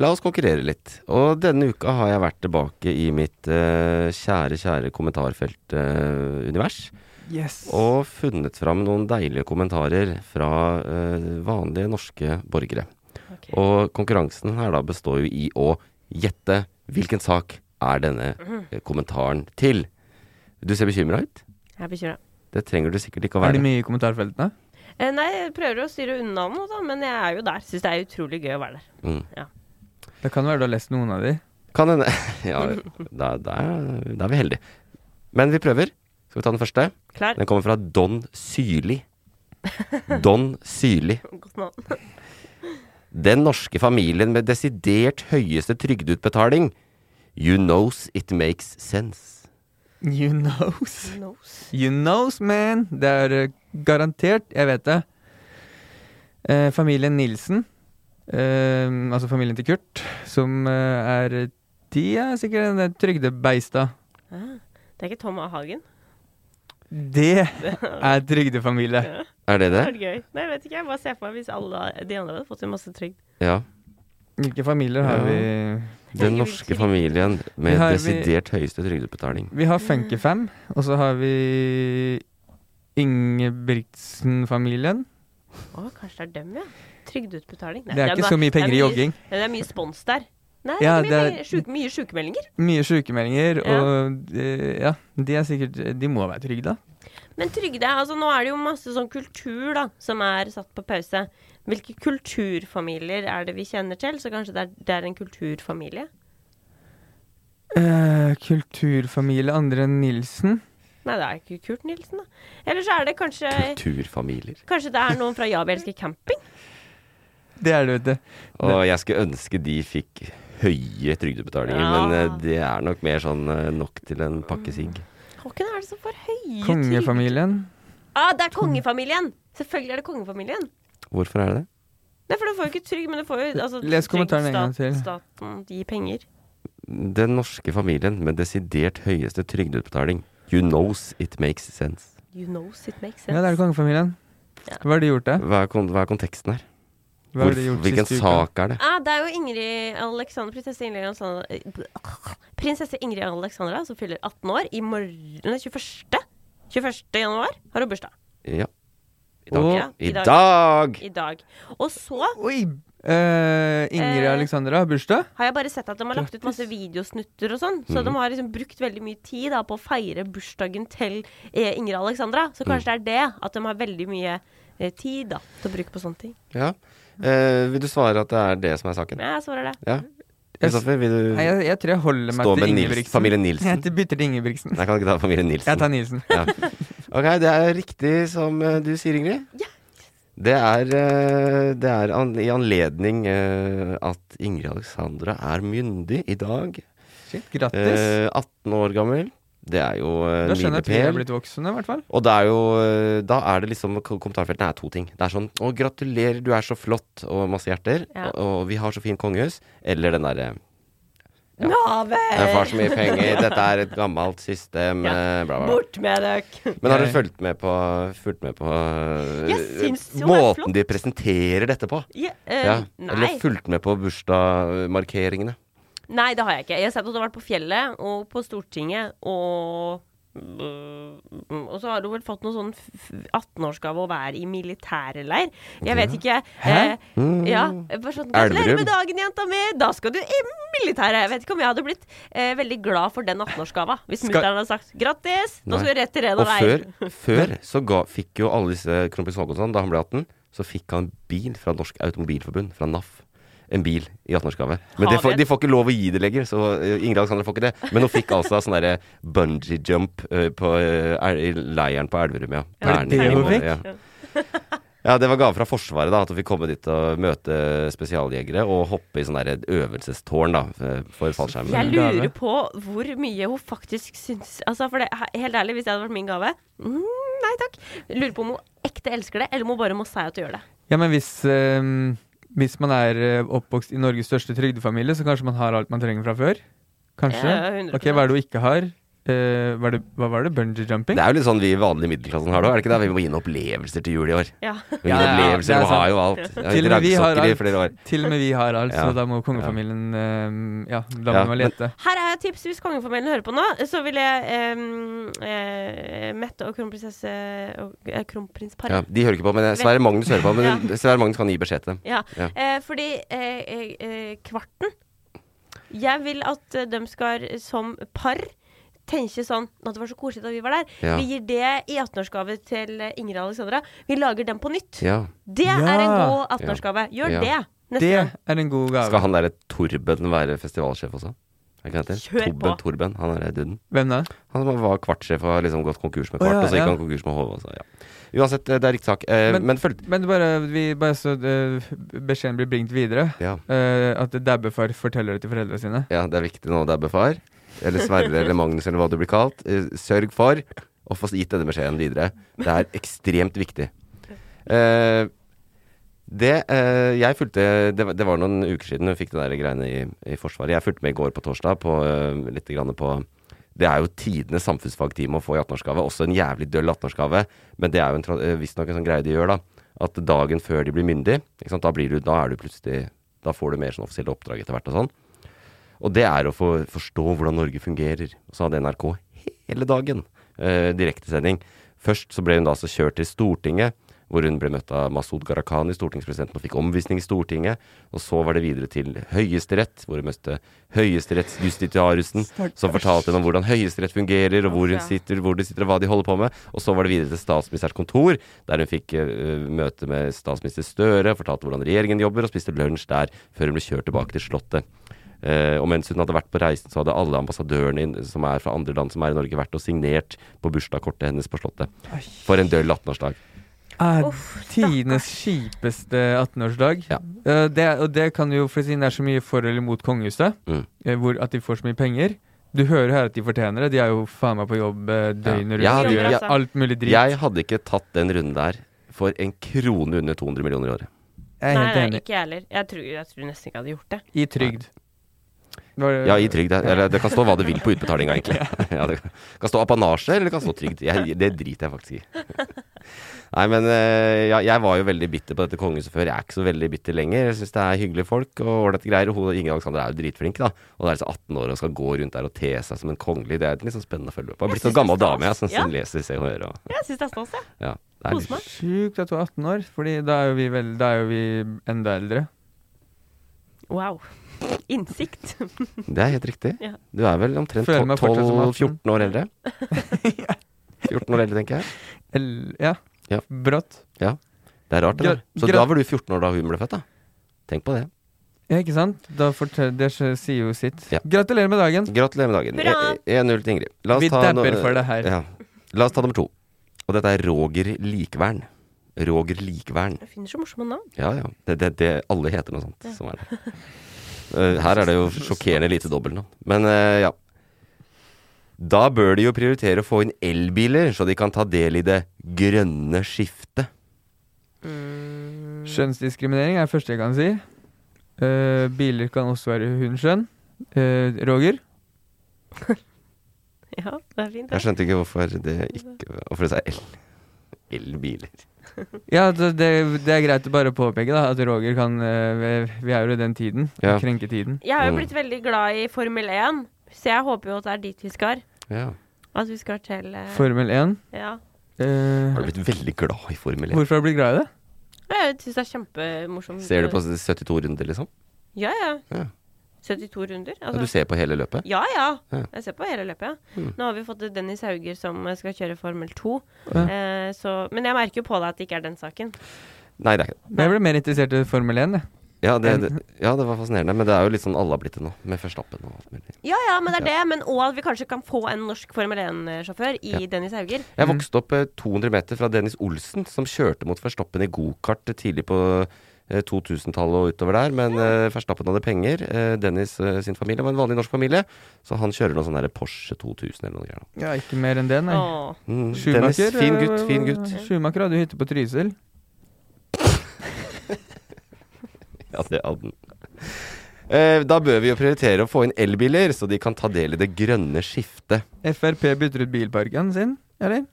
La oss konkurrere litt. Og denne uka har jeg vært tilbake i mitt eh, kjære, kjære kommentarfeltunivers. Yes. og funnet fram noen deilige kommentarer fra eh, vanlige norske borgere. Og konkurransen her da består jo i å gjette hvilken sak er denne eh, kommentaren til. Du ser bekymra ut. Jeg er bekymra. Det trenger du sikkert ikke å Er det være. mye i kommentarfeltene? Eh, Nei, jeg prøver å styre unna nå, da, men jeg er jo der. Syns det er utrolig gøy å være der. Mm. Det kan være du har lest noen av de. Kan hende Ja, da, da, er- da er vi heldige. Men vi prøver. Skal vi ta den første? Klar? Den kommer fra Don Syrli. Don Syrli. Godt nå. Den norske familien med desidert høyeste trygdeutbetaling. You knows it makes sense. You knows. Nose. You knows, man. Det er eh, garantert. Jeg vet det. Eh, familien Nilsen, eh, altså familien til Kurt, som eh, er De er sikkert en eh, trygdebeista. Det er ikke Tom A. Hagen. Det er trygdefamilie. Er det det? Det er gøy. Nei, jeg vet ikke. Jeg bare ser for meg hvis alle de andre hadde fått en masse trygd. Ja. Hvilke familier har Ja. vi? Den norske familien med Her vi- desidert høyeste trygdeutbetaling. Vi har Funky5, og så har vi Ingebrigtsen-familien. Å, kanskje det er dem, ja. Trygdeutbetaling. Nei, Det er ikke så mye penger i det er jogging. Nei, Det er mye spons der. Nei, Ja, det er ikke mye, det er- penger. Sjuk, mye sykemeldinger. Mye sykemeldinger, Ja. og eh, ja, de er sikkert De må være trygda. Men trygde, altså nå er det jo masse sånn kultur da, som er satt på pause. Hvilke kulturfamilier er det vi kjenner til? Så kanskje det er, det er en kulturfamilie? Eh, kulturfamilie andre enn Nilsen. Nei, det er ikke Kurt Nilsen, da. Eller så er det kanskje Kulturfamilier. Kanskje det er noen fra Ja, vi elsker camping? Det er det, vet du. Og jeg skulle ønske de fikk høye trygdebetalinger, Ja. men eh, det er nok mer sånn eh, nok til en pakke sigg. Hvem er det som får høye trygder? Kongefamilien. Ah, det er kongefamilien! Selvfølgelig er det kongefamilien. Hvorfor er det det? Nei, for du får jo ikke trygd, men du får jo altså, Les trygd kommentaren en gang stat- til. Staten gir penger. Den norske familien med desidert høyeste trygdeutbetaling. You knows it makes sense. You knows it makes sense. Ja, det er kongefamilien. Hva har de gjort, da? Hva er, kon hva er konteksten her? Hva har de gjort Hvilken siste uka? sak er det? Ah, det er jo Ingrid Alexander, prinsesse Ingrid Alexandra Prinsesse Ingrid Alexandra som fyller 18 år i morgen Nei, 21. 21. januar har hun bursdag. Ja. I dag. Ja, I dag! I dag. Og så Oi! Eh, Ingrid Eh. Alexandra har bursdag. har jeg bare sett at de har lagt ut masse videosnutter og sånn. Mhm. Så de har liksom brukt veldig mye tid da, på å feire bursdagen til eh, Ingrid Alexandra. Så Mhm. kanskje det er det at de har veldig mye eh, tid da, til å bruke på sånne ting. Ja. Eh, vil du svare at det er det som er saken? Men jeg svarer det. Ja. Kristoffer, vil du Nei, jeg, jeg tror jeg holder meg Mm. Stå til med Nils- Ingebrigtsen. familien Nilsen. Jeg bytter til Ingebrigtsen. Nei, kan du ikke ta familien Nilsen? Jeg tar Nilsen. Ja. Ok, det er riktig som eh, du sier, Ingrid. Det er, eh, det er an i anledning eh, at Ingrid Alexandra er myndig i dag. Shit, grattis. Eh, 18 år gammel. Det er jo eh, da skjønner jeg at vi er milepæl. blitt voksne, i hvert fall. Og det er jo, eh, da er det liksom ko- Kommentarfeltene er to ting. Det er sånn 'Å, gratulerer, du er så flott', og masse hjerter. Ja. Og, og 'vi har så fint kongehus'. Eller den derre Ja jeg har så vel! mye penger, dette er et gammelt system, eh, bla, bla, bla. Bort med dere! Men har du fulgt med på, fulgt med på eh, Jeg syns jo det er flott. måten de presenterer dette på? Ja, eh, Eller nei. fulgt med på bursdagsmarkeringene? Nei, det har jeg ikke. Jeg har sett at du har vært på fjellet og på Stortinget og og så har du vel fått noen sånn f- f- 18-årsgave å være i militærleir. Jeg vet ikke. Hæ? Mm. Eh, ja, bare sånn, Elverum. Gratulerer med dagen, jenta mi! Da skal du i militæret! Jeg vet ikke om jeg hadde blitt eh, veldig glad for den 18-årsgava hvis Skal- mutter'n hadde sagt 'grattis', nå skal Nei. du rett til ren Og og før, før så ga, fikk jo alle disse kronprins Haakonsson, da han ble 18, så fikk han bil fra Norsk Automobilforbund, fra NAF. En bil i 18-årsgave. Men Har det får, vi- de får ikke lov å gi det lenger, så eh, Ingrid Alexandra får ikke det. Men hun fikk altså sånn derre bungee jump eh, på eh, er- i leiren på Elverum, ja. Var det det Erling- hun fikk? Ja. Ja, det var gave fra Forsvaret, da. At hun fikk komme dit og møte spesialjegere og hoppe i sånn der øvelsestårn, da, eh, for fallskjermen. Jeg gave. lurer på hvor mye hun faktisk syns Altså, for det, helt ærlig, hvis det hadde vært min gave mm, Nei takk. Lurer på om hun ekte elsker det, eller om hun bare må si at hun gjør det. Ja, men hvis, ehm, hvis man er eh, oppvokst i Norges største trygdefamilie, så kanskje man har alt man trenger fra før? Kanskje? Ja, 100%. ok, hva er det hun ikke har? Eh, hva, er det, hva var det? Bungee jumping? Det er jo litt sånn vi i vanlig middelklassen har det òg, er det ikke det? Vi må gi noen opplevelser til jul i år. Ja. Vi må gi Ja, noen ja, det opplevelser, er vi har sant. jo alt. Ja, Til og med vi har Raggsokker i alt. flere år. Til og med vi har alt, Ja. så da må kongefamilien ehm, Ja, da må Ja, man men- lete. Her er et tips hvis kongefamilien hører på nå. Så vil jeg ehm, eh, Mette og kronprinsesse og eh, kronprinsparet Ja, de hører ikke på, men Sverre Magnus hører på. Men Sverre Magnus kan gi beskjed til dem. Ja, Ja. Eh, fordi eh, eh, eh, kvarten Jeg vil at eh, de skal eh, som par tenke sånn At det var så koselig da vi var der. Ja. Vi gir det i 18-årsgave til eh, Ingrid Alexandra. Vi lager den på nytt. Ja. Det Ja. er en god 18-årsgave. Gjør Ja. det neste Det gang. er en god gave. Skal han derre Torben være festivalsjef også? Er ikke det han heter? Kjør på. Torben, Torben, han er duden. Hvem da? Han som var kvartsjef og har liksom gått konkurs med Å, kvart, ja, og så gikk ja. han konkurs med Hove. og så, Ja. Uansett, det er riktig sak. Eh, Men- men, følg Men bare, vi, bare så eh, beskjeden blir bringt videre. Ja. eh, at dabbefar forteller det til foreldrene sine. Ja, det er viktig nå, det er befar. Eller Sverre eller Magnus eller hva du blir kalt. Eh, Sørg for å få gitt denne beskjeden videre. Det er ekstremt viktig. Eh, det eh, jeg fulgte det, var- det var noen uker siden hun fikk det der greiene i, i Forsvaret. Jeg fulgte med i går på torsdag på eh, litt grann på Det er jo tidenes samfunnsfagtime å få i 18-årsgave. Også en jævlig døll 18-årsgave, men det er jo en tra- eh, visstnok en sånn greie de gjør, da. At dagen før de blir myndig, ikke sant? Da, blir du, da er du plutselig Da får du mer sånn offisielle oppdrag etter hvert og sånn. Og det er å få forstå hvordan Norge fungerer. Og så hadde NRK hele dagen eh, direktesending. Først så ble hun da altså kjørt til Stortinget, hvor hun ble møtt av Masud Gharahkhani, stortingspresidenten, og fikk omvisning i Stortinget. Og så var det videre til Høyesterett, hvor hun møtte høyesterettsjustitiarusen, som fortalte henne om hvordan Høyesterett fungerer, og hvor hun sitter, hvor de sitter, og hva de holder på med. Og så var det videre til statsministerens kontor, der hun fikk eh, møte med statsminister Støre, fortalte hvordan regjeringen jobber, og spiste lunsj der, før hun ble kjørt tilbake til Slottet. Eh, og mens hun hadde vært på reisen, så hadde alle ambassadørene inn- som er fra andre land som er i Norge, vært og signert på bursdagskortet hennes på Slottet. For en døll 18-årsdag. Er Ah, tidenes kjipeste 18-årsdag. Eh, det, og det kan jo, for siden det er så mye for eller mot kongehuset, Mm. eh, hvor, at de får så mye penger Du hører her at de fortjener det. De er jo faen meg på jobb eh, døgnet Jeg rundt. hadde- gjør jeg- alt mulig dritt. Jeg hadde ikke tatt den runden der for en krone under 200 millioner i året. Jeg er Nei, helt nei, enig. ikke jeg heller. Jeg tror, jeg tror nesten ikke jeg hadde gjort det. I trygd. Var det- Ja, i trygd. ja. Eller det kan stå hva det vil på utbetalinga, egentlig. Ja, det kan stå apanasje, eller det kan stå trygd. Jeg, det driter jeg faktisk i. Nei, men eh, ja, jeg var jo veldig bitter på dette kongehuset før. Jeg er ikke så veldig bitter lenger. Jeg syns det er hyggelige folk og ålreite greier. Og hun- Ingrid Alexander er jo dritflink, da. Og det er liksom 18 år og skal gå rundt der og te seg som en kongelig. Det er litt sånn spennende å følge med på. Jeg har blitt Jeg sånn gammel synes det er dame, jeg, som stas. Ja. leser Se og Hør og Jeg syns det er stas, jeg. Ja. Det er litt- Sjukt at du er 18 år, Fordi da er jo vi, vel, da er jo vi enda eldre. Wow. Innsikt. Det er helt riktig. Ja. Du er vel omtrent Føler meg fortsatt som 18. 12-14 år eldre. 14 år eldre, tenker jeg. El- ja. Ja. Brått. Ja. Det er rart, det der. Gra- Så gra- da var du 14 år da hun ble født, da. Tenk på det. Ja, ikke sant? Da fortell, det s- sier jo sitt. Gratulerer med dagen. Gratulerer med dagen. Hurra! E- 1-0 til Ingrid. La oss Vi ta dabber for det her. Ja. La oss ta nummer to. Og dette er Roger Likvern. Roger Likvern. Jeg finner så morsomme navn. Ja, ja. Det, det, det, alle heter noe sånt Ja. som er det. Eh, Her er det jo sjokkerende lite dobbeltnavn. Men eh, ja. Da bør de jo prioritere å få inn elbiler, så de kan ta del i det grønne skiftet. Skjønnsdiskriminering er det første jeg kan si. Eh, biler kan også være hundskjønn. Eh, Roger? Ja, det er fint. Jeg skjønte ikke hvorfor det ikke Hvorfor det er el. Elbiler. Ja, det, det det er greit å bare påpeke da, at Roger kan eh, vi- Vi er jo i den tiden. Ja. Krenketiden. Jeg har Mm. jo blitt veldig glad i Formel 1, så jeg håper jo at det er dit vi skal. Ja. At vi skal til eh, Formel 1. Ja. Eh, Har du blitt veldig glad i Formel 1? hvorfor har du blitt glad i det? Jeg syns det er kjempemorsomt. Ser du på 72 runder, liksom? Ja, ja. Ja. 72 runder. Altså, Ja, du ser på hele løpet? Ja, ja. Ja. Jeg ser på hele løpet, ja. Mm. Nå har vi fått Dennis Hauger som skal kjøre Formel 2. Ja. Eh, så, men jeg merker jo på deg at det ikke er den saken. Nei, det er ikke det. Jeg ble mer interessert i Formel 1. Jeg. Ja, det, det, ja, det var fascinerende, men det er jo litt sånn alle har blitt det nå, med Verstappen og alt mulig. Ja, ja, men det er Ja. det. Men òg at vi kanskje kan få en norsk Formel 1-sjåfør i Ja. Dennis Hauger. Jeg Mm. vokste opp eh, 200 meter fra Dennis Olsen, som kjørte mot Verstappen i gokart tidlig på eh, 2000-tallet og utover der, men eh, Verstappen hadde penger. eh, Dennis eh, sin familie var en vanlig norsk familie, så han kjører noe sånn der Porsche 2000 eller noe greier. da. Ja, ikke mer enn det, nei. Åh. Mm, Schumacher, Dennis, fin eh, gutt, fin gutt. Schumacher hadde jo hytte på Trysil. Ja, det hadde han. Eh, Da bør vi jo prioritere å få inn elbiler, så de kan ta del i det grønne skiftet. Frp bytter ut bilparken sin, eller?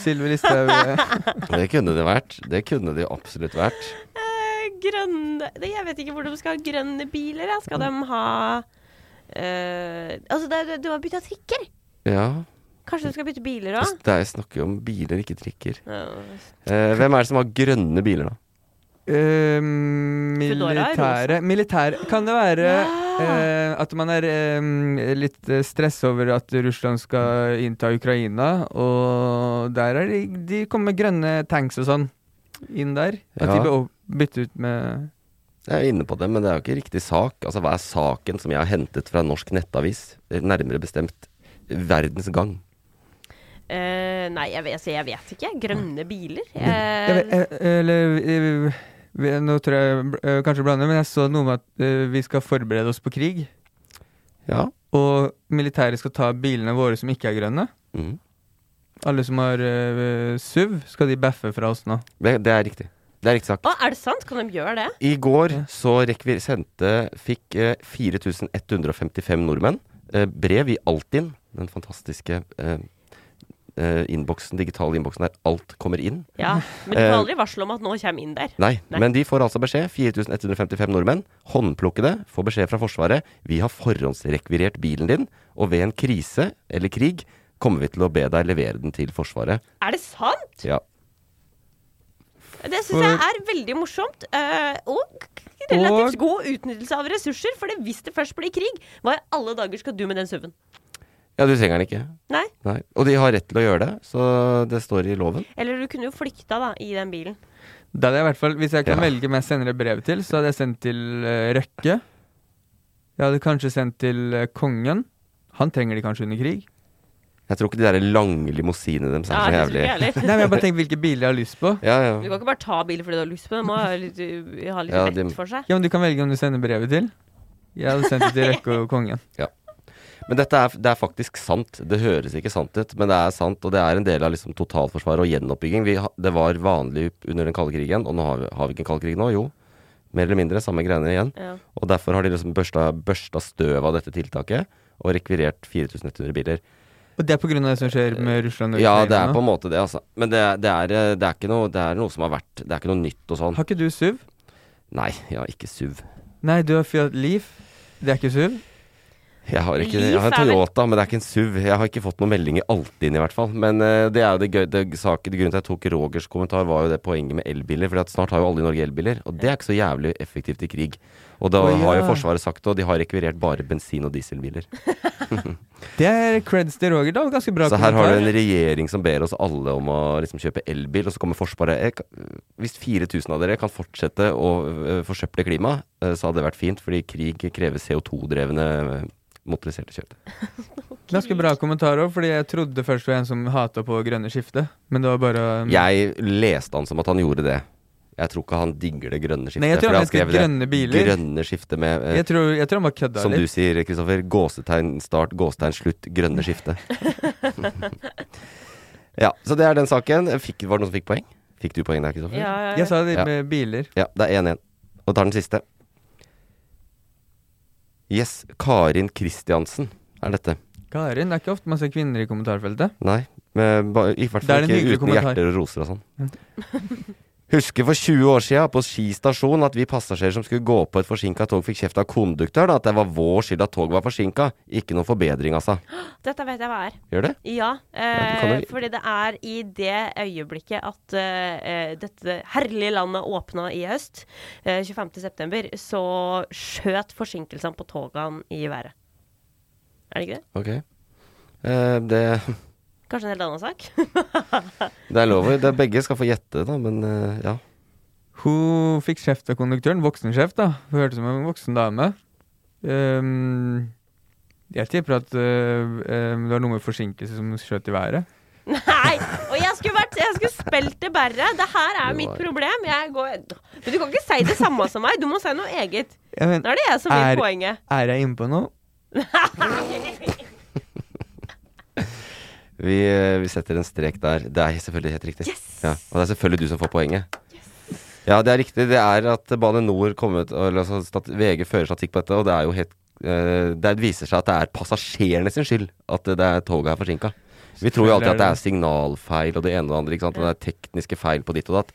Sylvi Listhaug eh, Det kunne det vært. Det kunne det jo absolutt vært. Eh, Grønne det- Jeg vet ikke hvor de skal ha grønne biler. Jeg. Skal de ha eh, Altså, det, er- du har bytta trikker! Ja. altså, Kanskje de skal bytte biler òg? Det er, jeg snakker jo om biler, ikke trikker. Eh, hvem er det som har grønne biler, da? eh, Foodora er Militære Militære Kan det være eh, at man er eh, litt eh, stress over at Russland skal innta Ukraina, og der er de De kommer med grønne tanks og sånn inn der. At Ja. de bør bytte ut med Jeg er inne på det, men det er jo ikke riktig sak. Altså, Hva er saken som jeg har hentet fra norsk nettavis? Nærmere bestemt Verdens Gang. Eh, nei, jeg vet, altså, jeg vet ikke. Grønne biler? Mm. Jeg Eh, vet, eh, eller eh, vi, Nå tror jeg bl- eh, kanskje jeg blander, men jeg så noe om at eh, vi skal forberede oss på krig. Ja. Og militæret skal ta bilene våre som ikke er grønne. Mhm. Alle som har eh, SUV, skal de baffe fra oss nå. Det, det er riktig. Det er riktig sak. Å, er det sant? Kan de gjøre det? I går så rekvi- sendte fikk eh, 4155 nordmenn eh, brev i Altinn, den fantastiske eh, eh, innboksen, digitale innboksen der alt kommer inn. Ja. Mm. Men du får Eh, aldri varsel om at nå kommer inn der. Nei, men de får altså beskjed. 4155 nordmenn, håndplukkede, får beskjed fra Forsvaret. Vi har forhåndsrekvirert bilen din, og ved en krise eller krig kommer vi til å be deg levere den til Forsvaret. Er det sant? Ja. Det syns jeg er veldig morsomt. eh, og relativt god utnyttelse av ressurser. For det, hvis det først blir krig, hva i alle dager skal du med den SUV-en? ja, du trenger den ikke. Nei. Nei. Og de har rett til å gjøre det, så det står i loven. Eller du kunne jo flykta, da, i den bilen. Da hadde jeg i hvert fall, Hvis jeg kan Ja. velge hvem jeg sender et brev til, så hadde jeg sendt til eh, Røkke. Jeg hadde kanskje sendt til eh, kongen. Han trenger de kanskje under krig. Jeg tror ikke de der lange limousinene deres er Ja, så det tror jævlig. ikke jeg heller. Nei, men jeg bare tenker hvilke biler jeg har lyst på. Ja, ja. Du kan ikke bare ta bil fordi du har lyst på det. Må ha litt, uh, ha litt Ja, de- vett for seg. Ja, men Du kan velge om du sender brevet til. Jeg hadde sendt det til Rekke og kongen. Men dette er, det er faktisk sant. Det høres ikke sant ut, men det er sant. Og det er en del av liksom totalforsvaret og gjenoppbygging. Vi, ha- det var vanlig under den kalde krigen, og nå har vi, har vi ikke en kald krig nå? Jo. Mer eller mindre samme greiene igjen. Ja. Og derfor har de liksom børsta, børsta støv av dette tiltaket og rekvirert 4100 biler. Og det er pga. det som skjer med Russland og Ja, Ukraina det er nå. på en måte det, altså. Men det, det, er, eh, det, er, ikke noe, det er noe som har vært Det er ikke noe nytt og sånn. Har ikke du SUV? Nei, jeg har ikke SUV. Nei, du har Fiat Leaf. Det er ikke SUV. Jeg har, ikke, Leaf jeg har en er vel- Toyota, men det er ikke en SUV. Jeg har ikke fått noen meldinger alltid inn, i hvert fall. Men eh, det er jo det gøy, det, saken, grunnen til at jeg tok Rogers kommentar, var jo det poenget med elbiler. For snart har jo alle i Norge elbiler, og det er ikke så jævlig effektivt i krig. Og da Å, ja. har jo Forsvaret sagt det, og de har rekvirert bare bensin- og dieselbiler. Det er creds til Roger, da. Ganske bra Så her har du en kommentar. regjering som ber oss alle om å liksom kjøpe elbil, og så kommer Forsvaret «Jeg kan- Hvis 4000 av dere kan fortsette å øh, forsøple klimaet, øh, så hadde det vært fint, fordi krig krever CO2-drevne øh, motoriserte kjøretøy. Ganske bra kommentar òg, fordi jeg trodde først det var en som hata på grønne skiftet. Men det var bare um, Jeg leste han som at han gjorde det. Jeg tror ikke han digger det grønne skiftet. Nei, jeg tror for han mente skrev det grønne biler. Grønne skiftet med eh, Jeg tror, jeg tror han bare kødda Som du litt. sier, Kristoffer. Gåsetegn start, gåsetegn slutt, grønne skifte. ja, så det er den saken. Fikk, var det noen som fikk poeng? Fikk du poeng der, Kristoffer? Ja, ja, ja. Jeg sa det Ja. med biler. Ja, det er 1-1. Og tar den siste. Yes, Karin Kristiansen er dette. Karin, det er ikke ofte man ser kvinner i kommentarfeltet. Nei, men ba- i hvert Det er fall en ikke hyggelig uten kommentar. hjerter og roser og sånn. Husker for 20 år siden på Ski stasjon at vi passasjerer som skulle gå på et forsinka tog, fikk kjeft av konduktøren at det var vår skyld at toget var forsinka. Ikke noen forbedring, altså. Dette vet jeg hva er. Gjør det? Ja, du kan eh, jo- fordi det er i det øyeblikket at eh, eh, dette herlige landet åpna i høst, eh, 25.9., så skjøt forsinkelsene på togene i været. Er det ikke det? Ok. Eh, det, Kanskje en helt annen sak? det er lov å det- Begge skal få gjette, da, men eh, ja. Hun fikk kjeft av konduktøren. Voksenkjeft, da. Hun hørtes ut som en voksen dame. Ehm, jeg tipper at øh, ehm, det var noe med forsinkelse som skjøt i været. Nei! Og jeg skulle, vært, jeg skulle spilt det verre. Det her er Det mitt var- problem. Jeg går, men du kan ikke si det samme som meg. Du må si noe eget. Jeg men, Nå er det jeg som vil Er- poenget. er jeg inne på noe? Vi, eh, vi setter en strek der. Det er selvfølgelig helt riktig. Ja, og det er selvfølgelig du som får poenget. Ja, det er riktig. Det er at Bane NOR kom ut eller, altså, stat VG fører statistikk på dette, og det er jo helt eh, Det viser seg at det er passasjerene sin skyld at det er toget er forsinka. Vi tror jo alltid at det er signalfeil og det ene og det andre, ikke sant? og det er tekniske feil på ditt og datt,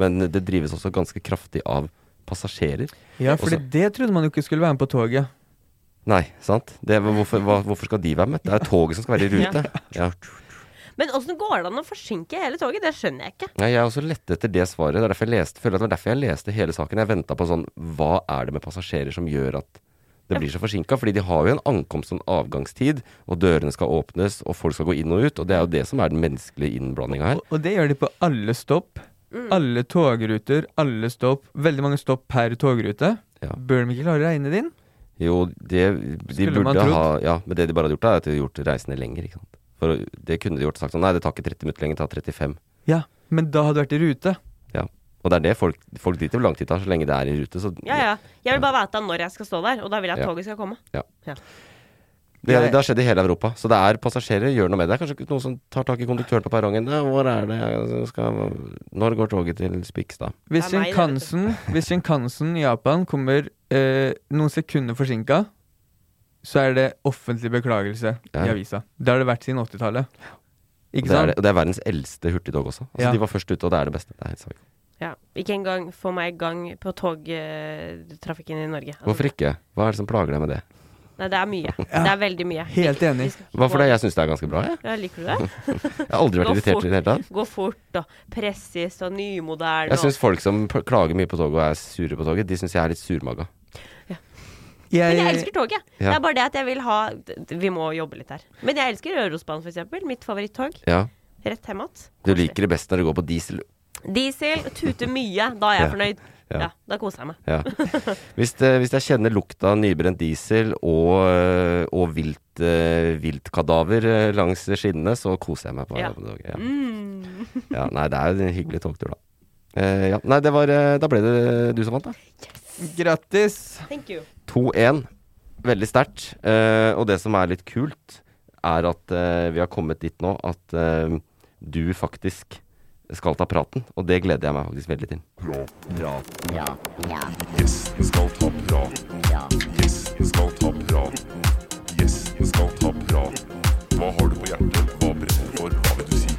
men det drives også ganske kraftig av passasjerer. Ja, for det trodde man jo ikke skulle være med på toget. Nei, sant? Det, er- hvorfor, hva, hvorfor skal de være med? Det er toget som skal være i rute. Ja. Men åssen går det an å forsinke hele toget? Det skjønner jeg ikke. Nei, jeg er også lette etter det svaret. Det er derfor jeg leste, føler at det var derfor jeg leste hele saken. Jeg venta på sånn Hva er det med passasjerer som gjør at det blir så forsinka? Fordi de har jo en ankomst og en avgangstid, og dørene skal åpnes, og folk skal gå inn og ut. Og det er jo det som er den menneskelige innblandinga her. Og, og det gjør de på alle stopp. Mm. Alle togruter, alle stopp. Veldig mange stopp per togrute. Ja. Bør de ikke klare å regne det inn? Jo, det de Skulle man burde trodd. ha Ja, men det de bare har gjort, er at de har gjort reisene lenger, ikke sant. For det kunne de gjort sagt sånn Nei, det tar ikke 30 minutter lenger, det tar 35. Ja, men da hadde du vært i rute. Ja. Og det er det folk, folk driter i hvor lang tid det tar, så lenge det er i rute. Så Ja, ja. Jeg vil bare vite når jeg skal stå der, og da vil jeg at Ja. toget skal komme. Ja. Ja. Det, det har skjedd i hele Europa. Så det er passasjerer. Gjør noe med det. Det er kanskje ikke noen som tar tak i konduktøren på perrongen. «Nei, Hvor er det jeg skal Når går toget til Spikstad? Hvis Det er meg, det, vet Shinkansen hvis Shinkansen i Japan kommer eh, noen sekunder forsinka, så er det offentlig beklagelse Ja. i avisa. Det har det vært siden 80-tallet. Og Ikke Det er, sant? det, og det er verdens eldste hurtigtog også. Altså, Ja. De var først ute, og det er det beste. Det er helt sant. Ja. Ikke engang få meg i gang på togtrafikken i Norge. Altså, Hvorfor ikke? Hva er det som plager deg med det? Nei, det er mye. Det er veldig mye. Helt enig. Hvorfor det? Jeg syns det er ganske bra, jeg. Ja, liker du det? Jeg har aldri vært Gå irritert fort. i det hele tatt. Gå fort og presis og nymoderne. Jeg og- syns folk som p- klager mye på toget og er sure på toget, de syns jeg er litt surmaga. Men jeg Jeg, elsker toget. Ja. Det er bare det at jeg vil ha Vi må jobbe litt her. Men jeg elsker Rørosbanen, for eksempel. Mitt favorittog. Ja. Rett hjem igjen. Du liker det best når det går på diesel. Diesel tuter mye. Da er jeg Ja. fornøyd. Ja. Ja, da koser jeg meg. Ja. Hvis, det, hvis jeg kjenner lukta av nybrent diesel og, og vilt, eh, viltkadaver eh, langs skinnene, så koser jeg meg på Ja. på- Ja. Mm. ja. Nei, det er jo en hyggelig togtur, da. Eh, ja. Nei, det var eh, Da ble det du som vant, da. Grattis. Thank you. 2-1. Veldig sterkt. Eh, og det som er litt kult, er at eh, vi har kommet dit nå at eh, du faktisk skal ta praten, og det gleder jeg meg faktisk veldig til. Yes, jeg skal ta praten. Yes, jeg skal ta praten. Yes, jeg skal ta praten. Hva har du på hjertet? Hva brenner du for? Hva vil du si?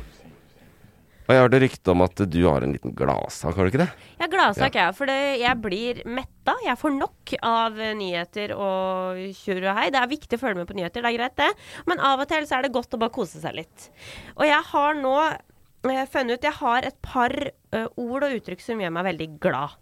Og jeg hørte rykte om at du har en liten gladsak, har du ikke det? Jeg er gladsak, jeg. For det, jeg blir metta. Jeg får nok av eh, nyheter og tjur og hei. Det er viktig å følge med på nyheter, det er greit, det. Men av og til så er det godt å bare kose seg litt. Og jeg har nå eh, funnet ut Jeg har et par eh, ord og uttrykk som gjør meg veldig glad.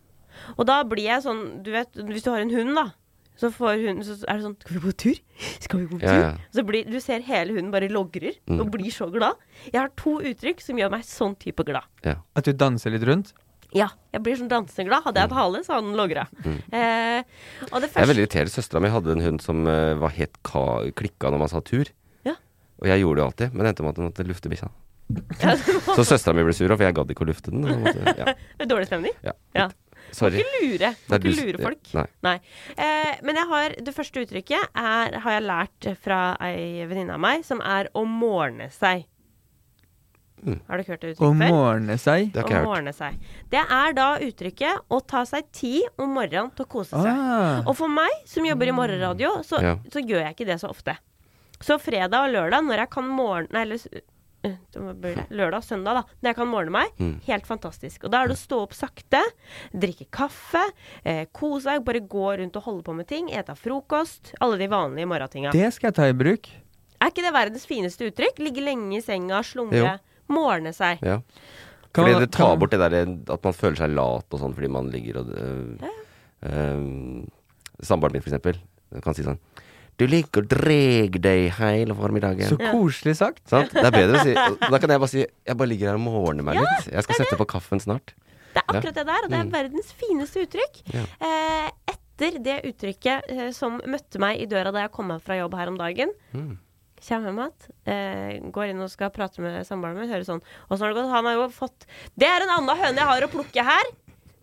Og da blir jeg sånn Du vet, hvis du har en hund, da. Så, får hunden- så er det sånn Skal vi gå tur? Skal vi gå tur? Ja, ja. Så blir, du ser hele hunden bare logrer Mm. og blir så glad. Jeg har to uttrykk som gjør meg sånn type glad. At du danser litt rundt? Ja, jeg blir sånn danseglad. Hadde jeg hatt hale, så hadde den logra. Eh, og Mm. Jeg det er første veldig irritert. Søstera mi hadde en hund som eh, var helt ka klikka når man sa tur. Ja. Og jeg gjorde det jo alltid, men det endte med at hun måtte lufte bikkja. Ja, det var- Så søstera mi ble sur, for jeg gadd ikke å lufte den. og Måtte, ja. Med dårlig stemning? Ja. Må Sorry. ikke lure, må Det er ikke du- lure folk. Nei. Eh, men jeg har, det første uttrykket er, har jeg lært fra ei venninne av meg, som er å morne seg. Mm. Har du ikke hørt det Å uttrykket før? morne seg? Å morne seg. Det er da uttrykket å ta seg tid om morgenen til å kose seg. Ah. Og for meg som jobber i morgenradio, så, Ja. så gjør jeg ikke det så ofte. Så fredag og lørdag, når jeg kan morgen... Nei, eller s- eh, hva blir det? lørdag og søndag, da. Når jeg kan morgne meg. Mm. Helt fantastisk. Og da er det å stå opp sakte, drikke kaffe, eh, kose seg, bare gå rundt og holde på med ting, ete frokost. Alle de vanlige morgentinga. Det skal jeg ta i bruk. Er ikke det verdens fineste uttrykk? Ligge lenge i senga, slumre, Jo. morne seg. Ja. Kan Fordi man- det tar kan- bort det der eh, at man føler seg lat og sånn fordi man ligger og øh, øh, Samboeren min, for eksempel, kan si sånn Du ligger og dreg deg hele formiddagen. Så koselig sagt. Sant? Det er bedre å si Da kan jeg bare si Jeg bare ligger her og morner meg Ja, litt. Jeg skal sette på kaffen snart. Det er akkurat Ja. det der, og det er Mm. verdens fineste uttrykk. Ja. Eh, etter det uttrykket eh, som møtte meg i døra da jeg kom hjem fra jobb her om dagen, Mm. kommer hjem igjen, eh, går inn og skal prate med samboeren min, hører sånn Og så har det gått, han har jo fått Det er en annen høne jeg har å plukke her!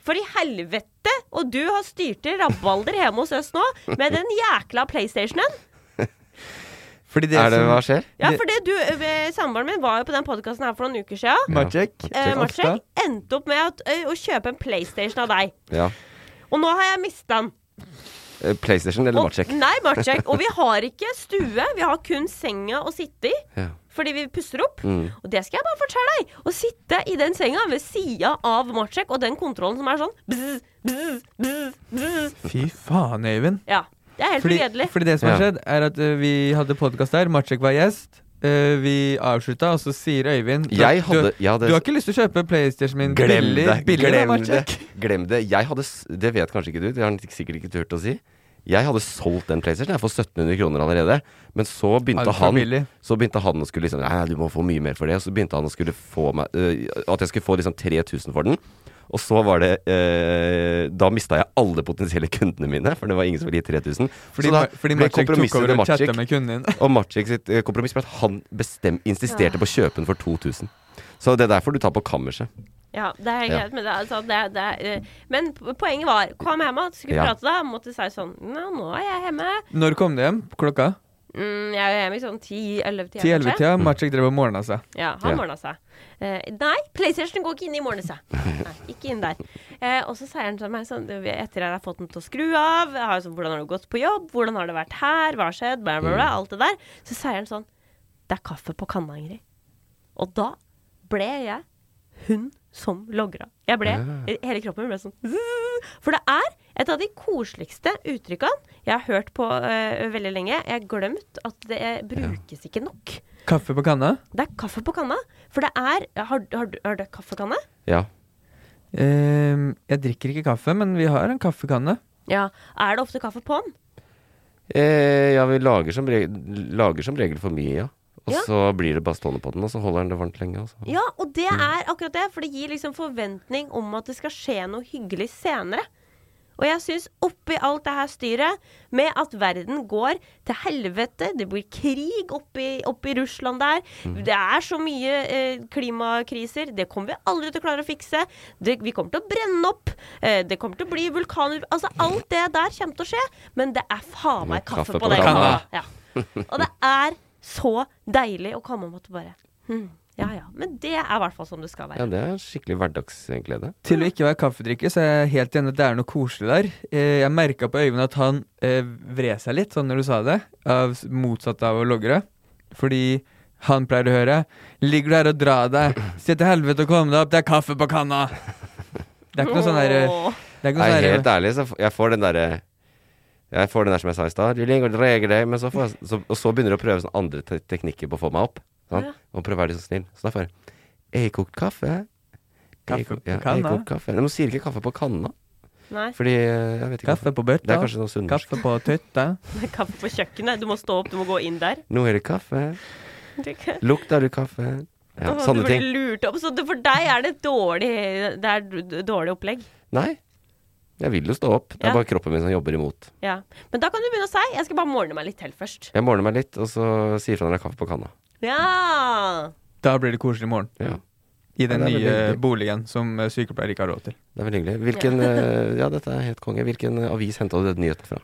For i helvete! Og du har styrt i rabalder hjemme hos oss nå med den jækla PlayStationen! Er det hva skjer? Ja, for det du, eh, samboeren min var jo på den podkasten her for noen uker siden. Marcek. Eh, Marcek endte opp med at, ø, å kjøpe en PlayStation av deg. Ja. Og nå har jeg mista den. Eh, PlayStation eller Og- Marcek? Nei, Marcek. Og vi har ikke stue. Vi har kun senga å sitte i. Ja. Fordi vi pusser opp. Mm. Og det skal jeg bare fortelle deg. Å sitte i den senga ved sida av Marcek og den kontrollen som er sånn bzz, bzz, bzz, bzz. Fy faen, Øyvind. Ja. Det er helt Fordi, forgledelig. fordi det som har Ja. skjedd, er at eh, vi hadde podkast der. Marcek var gjest. Eh, vi avslutta, og så sier Øyvind du- Jeg hadde- du, jeg hadde- du har ikke lyst til å kjøpe PlayStation min Glem billig? det. billig da, Glem det. Marcek? Glem det. Jeg hadde s- Det vet kanskje ikke du, det har han sikkert ikke turt å si. Jeg hadde solgt den PlayStation jeg, for 1700 kroner allerede. Men så begynte, Altfor han, billig. så begynte han å skulle liksom Nei, nei, du må få mye mer for det. Og så begynte han å skulle få meg øh, At jeg skulle få liksom 3000 for den. Og så var det øh, Da mista jeg alle potensielle kundene mine, for det var ingen som ville gi 3000. Fordi så da Mar- ble fordi Marcek tok kompromisset over til og chatta Marcek. med kunden. Og Marcek sitt eh, kompromiss ble at han bestem, insisterte på å kjøpe den for 2000. Så det er derfor du tar på kammerset. Ja, det er helt Ja. greit, men det, er altså, det, er- det er, eh, Men po- poenget var, kom hjem igjen, skulle Ja. prate da, måtte si sånn Nå, nå er jeg hjemme. Når kom du hjem? Klokka? Mm, jeg er hjemme i sånn 10-11 10-11-tida. Marcek drev og morna seg. Ja, han morna seg. Eh, nei, PlayStation går ikke inn i morgenen seg. Nei, ikke inn der. Eh, og så sier han til meg sånn du, Etter jeg har fått den til å skru av, jeg har, sånn, hvordan har du gått på jobb, hvordan har det vært her, hva har skjedd, bla, bla, bla, alt det der. Så sier han sånn Det er kaffe på kanna, Ingrid. Og da ble jeg hun som logra. Jeg ble, Ah. Hele kroppen ble sånn «Zzz». For det er et av de koseligste uttrykkene jeg har hørt på eh, veldig lenge. Jeg har glemt at det eh, brukes ikke nok. Kaffe på kanna? Det er kaffe på kanna. For det er Har, har, du- har du kaffekanne? Ja. Ehm, jeg drikker ikke kaffe, men vi har en kaffekanne. Ja. Er det ofte kaffe på den? Eh, ja, vi lager som, regel, lager som regel for mye, ja. Og Ja. så blir det bare stående på den, og så holder den det varmt lenge. Altså. Ja, og det er akkurat det, for det gir liksom forventning om at det skal skje noe hyggelig senere. Og jeg syns oppi alt det her styret, med at verden går til helvete, det blir krig oppi, oppi Russland der, Mm. det er så mye eh, klimakriser, det kommer vi aldri til å klare å fikse, det, vi kommer til å brenne opp, eh, det kommer til å bli vulkaner Altså alt det der kommer til å skje, men det er faen meg kaffe, på, den kanna. Ja. Og det er så deilig å komme om at du bare hm, Ja ja. Men det er i hvert fall som det skal være. Ja, det er skikkelig hverdagsglede. Til å ikke være kaffedrikker, så er jeg helt enig at det er noe koselig der. Eh, Jeg merka på Øyvind at han eh, vred seg litt, sånn når du sa det, av s- motsatt av å logre. Fordi han pleier å høre 'Ligger du her og drar deg? Se til helvete og kom deg opp, det er kaffe på kanna!' Det er ikke noe sånn derre Det er ikke noe Nei, sånn helt derre ærlig, så f- jeg får den derre jeg får den der som jeg sa i stad. «Jo lenger du reger deg», Men så får jeg, så, og så begynner du å prøve sånne andre te teknikker på å få meg opp. Sånn. Ja. Og prøve å være litt sånn snill. Så derfor Jeg har kokt kaffe. Jeg Kaffe ko- på ja, jeg kanna. kokt kaffe. Men man sier ikke kaffe på kanna. Nei. Fordi eh, jeg vet ikke Kaffe på bøtta. Det er kanskje noe sunnmørsk. Kaffe på tøtta. Kaffe på kjøkkenet. Du må stå opp, du må gå inn der. Nå er det kaffe. Det- Lukter du kaffe? Ja, Åh, sånne du ting. blir lurt opp. Så det, for deg er det et dårlig, det er d- dårlig opplegg. Nei. Jeg vil jo stå opp. Det Ja. er bare kroppen min som jobber imot. Ja. Men da kan du begynne å si. Jeg skal bare morne meg litt til først. Jeg morner meg litt, og så sier fra når det er kaffe på kanna. Ja. Da blir det koselig i morgen. I den Ja, det er nye veldig hyggelig. boligen som eh, sykepleier ikke har råd til. Det er veldig hyggelig. Hvilken Ja. eh, Ja, dette er helt konge. Hvilken eh, avis henta du den nyheten fra?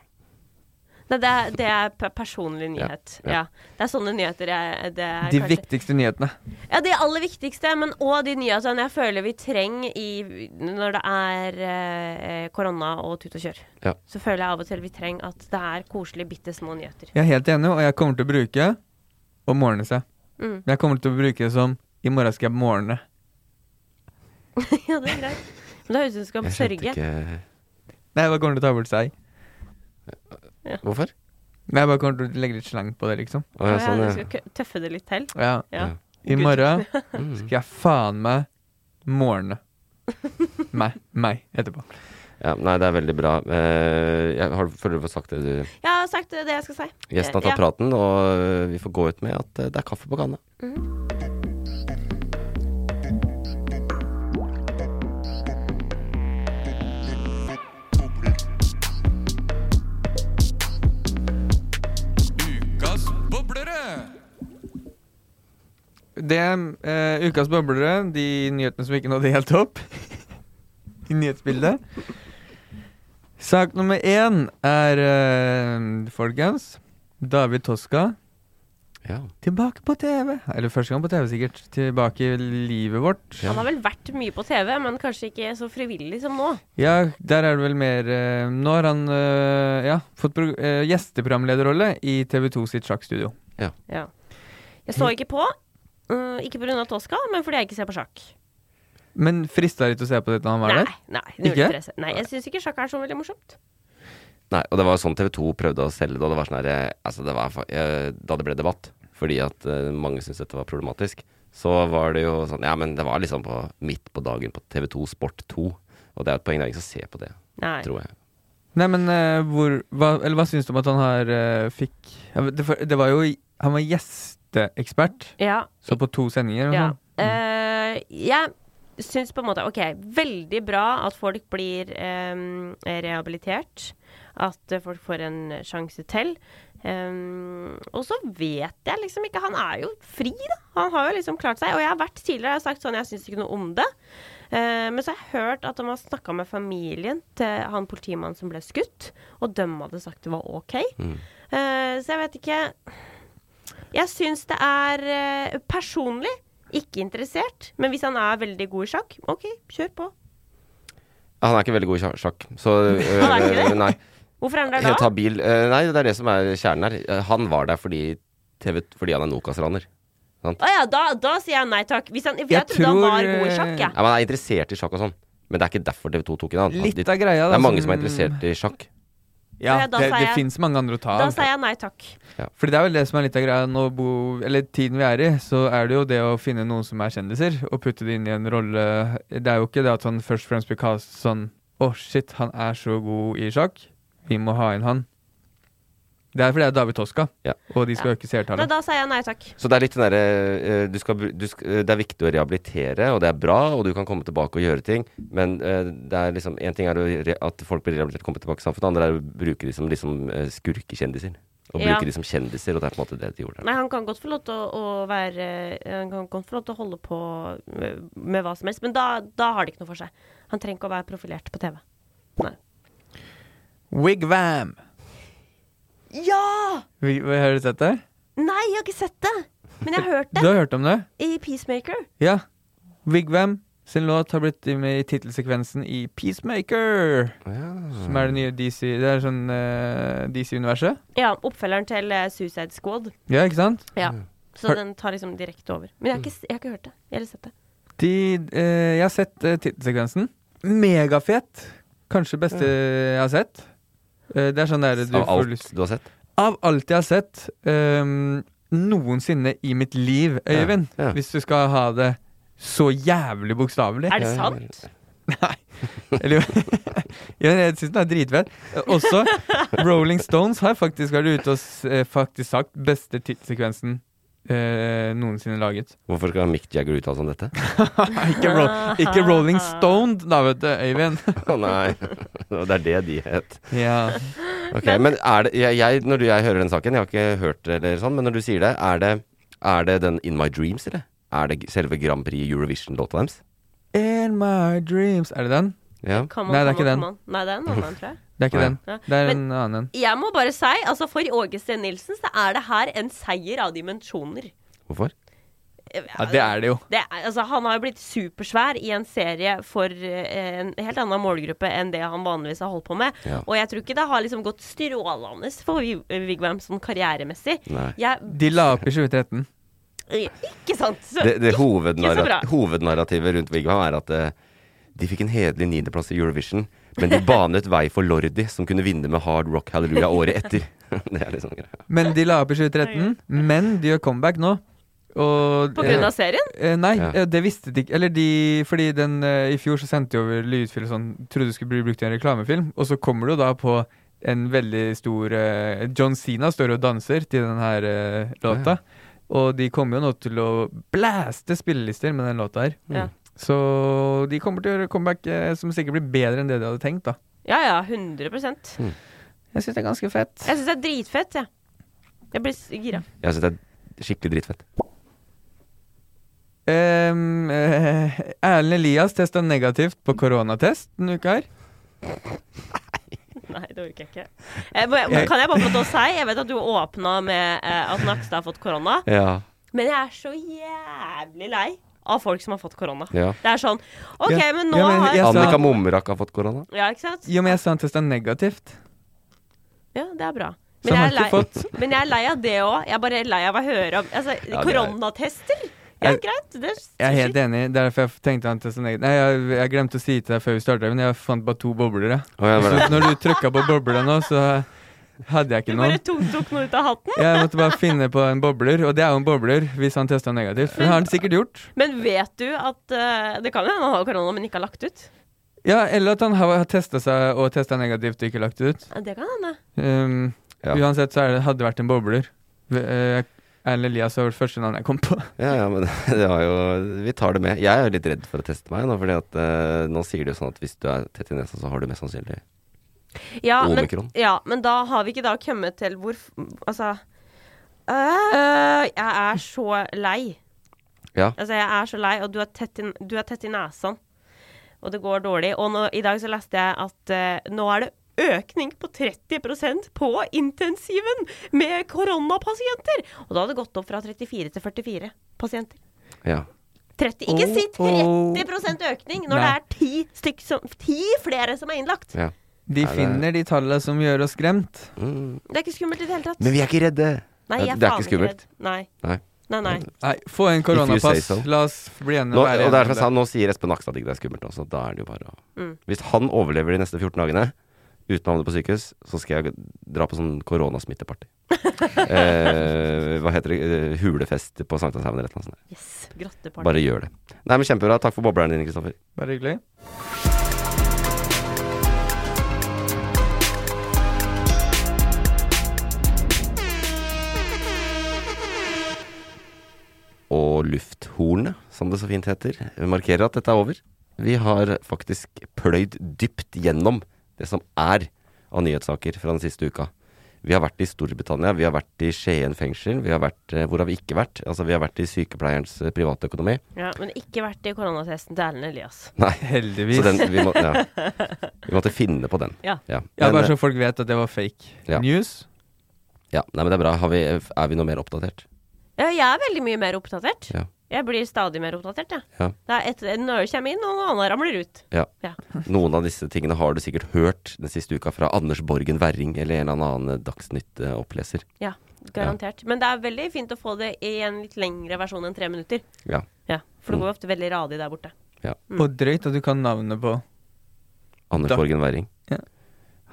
Nei, det er, det er pe- personlig nyhet. Ja, Ja, ja. Det er sånne nyheter jeg det er De kanskje- viktigste nyhetene. Ja, de aller viktigste, men òg de nyhetene jeg føler vi trenger i, når det er eh, korona og tut og kjør. Ja. Så føler jeg av og til vi trenger at det er koselige, bitte små nyheter. Jeg er helt enig, og jeg kommer til å bruke å morne seg. Mm. Jeg kommer til å bruke det som i morgen skal jeg morne. ja, det er greit. Men det høres ut som du skal sørge. Nei, jeg bare kommer til å ta bort seg. Ja. Hvorfor? Nei, jeg bare kommer til å legge litt slang på det, liksom. Å, ja, Å ja, du skal kø- tøffe det litt til. Ja. I Gud. morgen skal jeg faen meg morne. meg. Meg etterpå. Ja, nei, det er veldig bra. Eh, jeg har, føler du får sagt det du Jeg har sagt det jeg skal si. Gjesten har tatt Ja. praten, og eh, vi får gå ut med at eh, det er kaffe på kanna. Ukas boblere! Det eh, Ukas boblere, de nyhetene som ikke nådde helt opp i nyhetsbildet. Sak nummer én er, eh, folkens, David Toska. Tilbake på TV! Eller første gang på TV, sikkert. Tilbake i livet vårt. Han har vel vært mye på TV, men kanskje ikke så frivillig som nå. Ja, der er det vel mer eh, Nå har han eh, ja, fått pro eh, gjesteprogramlederrolle i TV2 sitt sjakkstudio. Ja. Ja. Jeg så ikke på. Uh, ikke pga. Toska, men fordi jeg ikke ser på sjakk. Men frista det ikke å se på det da han var Nei, der? nei, null Ikke? interesse. Nei, jeg syns ikke sjakk er så veldig morsomt. Nei, og det var jo sånn TV 2 prøvde å selge det, og det var sånn her eh, Altså, det var fa- eh, Da det ble debatt, fordi at eh, mange syntes dette var problematisk, så var det jo sånn Ja, men det var liksom på midt på dagen på TV 2 Sport 2, og det er jo et poeng, det er ingen som ser på det, Nei. tror jeg. Nei, men eh, hvor hva, Eller hva syns du om at han har eh, fikk ja, men det, for- det var jo i- Han var gjesteekspert. Ja. Så på to sendinger. Ja. Ja. Eh, jeg syns på en måte OK, veldig bra at folk blir em, rehabilitert. At eh, folk får en sjanse til. Em, og så vet jeg liksom ikke Han er jo fri, da. Han har jo liksom klart seg. Og jeg har vært tidligere og jeg har sagt sånn Jeg syns ikke noe om det. Eh, men så har jeg hørt at de har snakka med familien til han politimannen som ble skutt, og de hadde sagt det var OK. Eh, så jeg vet ikke Jeg syns det er eh, personlig ikke interessert, men hvis han er veldig god i sjakk, OK, kjør på. Ah, Han er ikke veldig god i sja- sjakk, så eh, Han er ikke det? Nei. Hvorfor er han der Helt da? habil. Eh, Nei, det er det som er kjernen her. Eh, Han var der fordi, TV, fordi han er Nokas-raner. Sant? Å ja, da, da sier jeg nei takk. Hvis han, for jeg, Jeg trodde han tror, eh, var god i sjakk, Ja, jeg. men han er interessert i sjakk og sånn. Men det er ikke derfor TV2 tok inn han. Han- Litt de- av greia, da, Det er mange som- som er interessert i sjakk. Ja, da det sa det jeg- fins mange andre å ta Da av. sier jeg nei takk. Fordi det er vel det som er litt av greia nå, bo, eller tiden vi er i, så er det jo det å finne noen som er kjendiser, og putte det inn i en rolle. Det er jo ikke det at han først og fremst blir kastet sånn Å, shit, han er så god i sjakk. Vi må ha inn han. Det er fordi det er David Toska, og de skal Ja. øke seertallet. Nei, da sier jeg nei takk. Så det er litt den derre eh, du skal, bru- du sk- eh, Det er viktig å rehabilitere, og det er bra, og du kan komme tilbake og gjøre ting, men eh, det er liksom én ting er å, re- at folk blir rehabilitert og kommer tilbake i samfunnet, det andre er å bruke de som liksom, eh, skurkekjendiser. Og Ja. bruke de som kjendiser, og det er på en måte det de gjorde. Nei, han kan godt få lov til å, å være eh, Han kan godt få lov til å holde på med, med hva som helst, men da, da har det ikke noe for seg. Han trenger ikke å være profilert på TV. Nei. Wigwam! Ja! Vi- Har du sett det? Nei, jeg har ikke sett det! Men jeg har hørt Du det har hørt om det? i Peacemaker. Ja. Wigwam sin låt har blitt med i tittelsekvensen i Peacemaker. Som er det nye DC Det er sånn DC-universet. Ja, Oppfølgeren til eh, Suicide Squad. Ja, ikke sant? Ja. Så Har- den tar liksom direkte over. Men jeg har ikke, s- jeg har ikke hørt det. Jeg har sett det. De, eh, jeg har sett uh, tittelsekvensen. Megafet. Kanskje beste jeg har sett. Eh, det er sånn der du Av får alt lyst du har sett? Av alt jeg har sett ehm, noensinne i mitt liv, Ja, Øyvind. ja. Hvis du skal ha det så jævlig bokstavelig. Er det sant? Nei. Eller jo Jo, Jeg syns den er dritfett. Eh, Også Rolling Stones har faktisk vært ute og s- eh, faktisk sagt beste tidssekvensen eh, noensinne laget. Hvorfor skal Mick Jagger uttale seg om dette? Ikke, ro ikke Rolling Stone, da, vet du, Øyvind. Å nei. Det er det de het. Ja. Ok, Men er det jeg, jeg, Når du- jeg hører den saken, jeg har ikke hørt det eller sånn, men når du sier det, er det, er det den In My Dreams, eller? Er det g- selve Grand Prix Eurovision-låta deres? In my dreams Er det den? Ja. Come on, Nei, det er ikke come on, den. come on. Nei, det er en annen, tror jeg. Det er ikke Nei. den. Ja. Det er Men- en annen en. Jeg må bare si, altså for Åge Steen Nilsen, så er det her en seier av dimensjoner. Hvorfor? Ja, det er det jo. Det er, altså, han har jo blitt supersvær i en serie for eh, en helt annen målgruppe enn det han vanligvis har holdt på med. Ja. Og jeg tror ikke det har liksom gått strålende for Vi- Vigvam sånn karrieremessig. Nei. Jeg, eh, De la opp i 2013. ikke sant? Så, Det, det ikke så bra. hovednarra hovednarrativet rundt Vigvam er at eh, de fikk en hederlig niendeplass i Eurovision, men de banet vei for Lordi, som kunne vinne med Hard Rock Hallelujah året etter. det er liksom greia. Men de la opp i 2013. Men de gjør comeback nå. Og, På grunn av serien? Eh, nei, Ja. eh, det visste de ikke. Eller de Fordi den eh, i fjor så sendte de over lydfil og sånn, trodde det skulle bli brukt i en reklamefilm, og så kommer du da på en veldig stor eh, John Sina står og danser til den her eh, låta. Og de kommer jo nå til å blaste spillelister med den låta her. Ja. Så de kommer til å gjøre comeback eh, som sikkert blir bedre enn det de hadde tenkt, da. Ja ja, 100 Jeg Mm. Jeg syns det er ganske fett. syns det er dritfett, jeg. Jeg blir s- gira. Jeg syns det er skikkelig dritfett. Ehm, eh, Erlend Elias testa negativt på koronatest denne uka her. Nei, det orker jeg ikke. Eh, må jeg, kan jeg bare få lov til å si Jeg vet at du åpna med eh, at Nakstad har fått korona. Ja. Men jeg er så jævlig lei av folk som har fått korona. Ja. Det er sånn OK, Ja. men nå Ja, men jeg har sa- Annika Momrak har fått korona. Ja, ikke sant? Jo, men jeg sa han testa negativt. Ja, det er bra. Så Men jeg, han er har ikke lei, men jeg er lei av det òg. Jeg er bare lei av å høre om altså, Ja, det er- Koronatester? Ja, Jeg- greit. Det er, Jeg er helt enig. det er Derfor jeg tenkte han testa negativt. Nei, jeg, jeg glemte å si til deg før vi starta, men jeg fant bare to bobler. Jeg. Å, ja, var det? Så når du trykka på bobla nå, så hadde jeg du ikke bare noen. tok, tok noe ut av hatten? Jeg måtte bare finne på en bobler, og det er jo en bobler hvis han testa negativt. For det har han sikkert gjort. Men vet du at eh, Det kan jo hende han har korona, men ikke har lagt ut. Ja, Eller at han har testa seg og testa negativt og ikke lagt det ut. Ja, Det kan hende. Um, Uansett så er det, hadde det vært en bobler. V- eh, Erlend Elias var vel første navn jeg kom på. Ja, ja, men det var jo Vi tar det med. Jeg er jo litt redd for å teste meg nå, fordi at eh, nå sier de jo sånn at hvis du er tett i nesa, så har du mest sannsynlig Ja, Omikron. men, ja, men da har vi ikke da kommet til hvor f- Altså øh, Jeg er så lei. Ja. Altså, jeg er så lei, og du er tett i, du er tett i nesen. Og det går dårlig. Og nå, i dag så leste jeg at eh, nå er det økning på 30 på intensiven med koronapasienter! Og da hadde det gått opp fra 34 til 44 pasienter. Ja. 30, ikke si Oh, oh. 30 økning når Nei. det er ti, stykk som, ti flere som er innlagt! De finner de tallene som gjør oss skremt. Det er ikke skummelt i det hele tatt. Mm. Men vi er ikke redde! Nei, jeg er det er faen ikke skummelt. redd. Nei. Nei. Nei, nei. Nei, få en If you say koronapass. so. La oss bli enige Nå, og være og derfor enige sa om han nå sier Espen Nakstad at ikke det er skummelt også. Da er det jo bare å Mm. Hvis han overlever de neste 14 dagene uten å havne på sykehus, så skal jeg dra på sånn koronasmitteparty. eh, hva heter det? Eh, Hulefest på Sankthanshaugen eller et eller annet sånt. Yes. Grotteparty. Bare gjør det. Nei, men Kjempebra. Takk for boblerne dine, Kristoffer. det. Bare hyggelig. lufthornet, som det så fint heter, markerer at dette er over. Vi har faktisk pløyd dypt gjennom det som er av nyhetssaker fra den siste uka. Vi har vært i Storbritannia, vi har vært i Skien fengsel, vi har vært eh, Hvor har vi ikke vært? Altså, vi har vært i sykepleierens eh, privatøkonomi. Ja, men ikke vært i koronatesten til Erlend Elias. Nei. Heldigvis. Så den, vi, må, ja. vi måtte finne på den. Ja. Ja, Men, bare så eh, folk vet at det var fake Ja. news. ja. Nei, men det er bra. Har vi, er vi noe mer oppdatert? Ja, jeg er veldig mye mer oppdatert. Ja. Jeg blir stadig mer oppdatert, jeg. Ja. Det er et, noe kommer inn, og noe annet ramler ut. Ja. Ja. Noen av disse tingene har du sikkert hørt den siste uka fra Anders Borgen Werring eller en eller annen eh, Dagsnytt-oppleser. Ja, garantert. Men det er veldig fint å få det i en litt lengre versjon enn tre minutter. Ja. Ja, For det går ofte veldig radig der borte. Ja. Mm. Og drøyt at du kan navnet på Anders Da- Borgen Werring. Ja.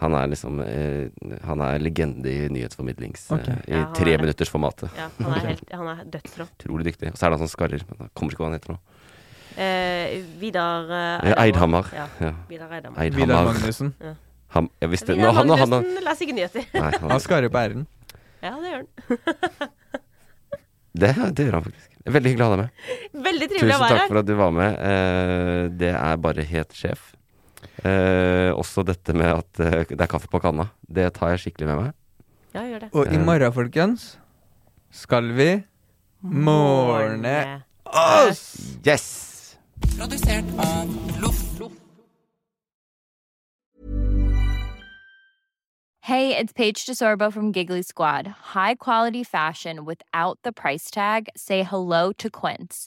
Han er liksom eh, Han er legende i nyhetsformidlings... Ok. Eh, I Ja, han er- treminuttersformatet. Ja, han er, helt, han er dødsrå. Utrolig dyktig. Og så er det han som skarrer, men jeg kommer ikke på hva han heter nå. Eh, Vidar eh, Eh, Eidhammer. Ja. Ja. Vidar Eidhammer. Eidhammer. Vidar Magnussen. Ja. Han, jeg visste, Vidar nå, han, og han, og- Magnussen leser ikke nyheter. Nei, han- Han skarrer på æren. Ja, det gjør han. det, det gjør han faktisk. Veldig hyggelig å ha deg med. Veldig trivelig å Tusen være takk her. for at du var med. Eh, det er bare helt sjef. Eh, også dette med at eh, det er kaffe på kanna. Det tar jeg skikkelig med meg. Ja, gjør det. Og i Ja. morgen, folkens, skal vi morne oss! Yes! Produsert av Loff. Hey, it's Paige DeSorbo from Giggly Squad. High quality fashion without the price tag. Say hello to Quince.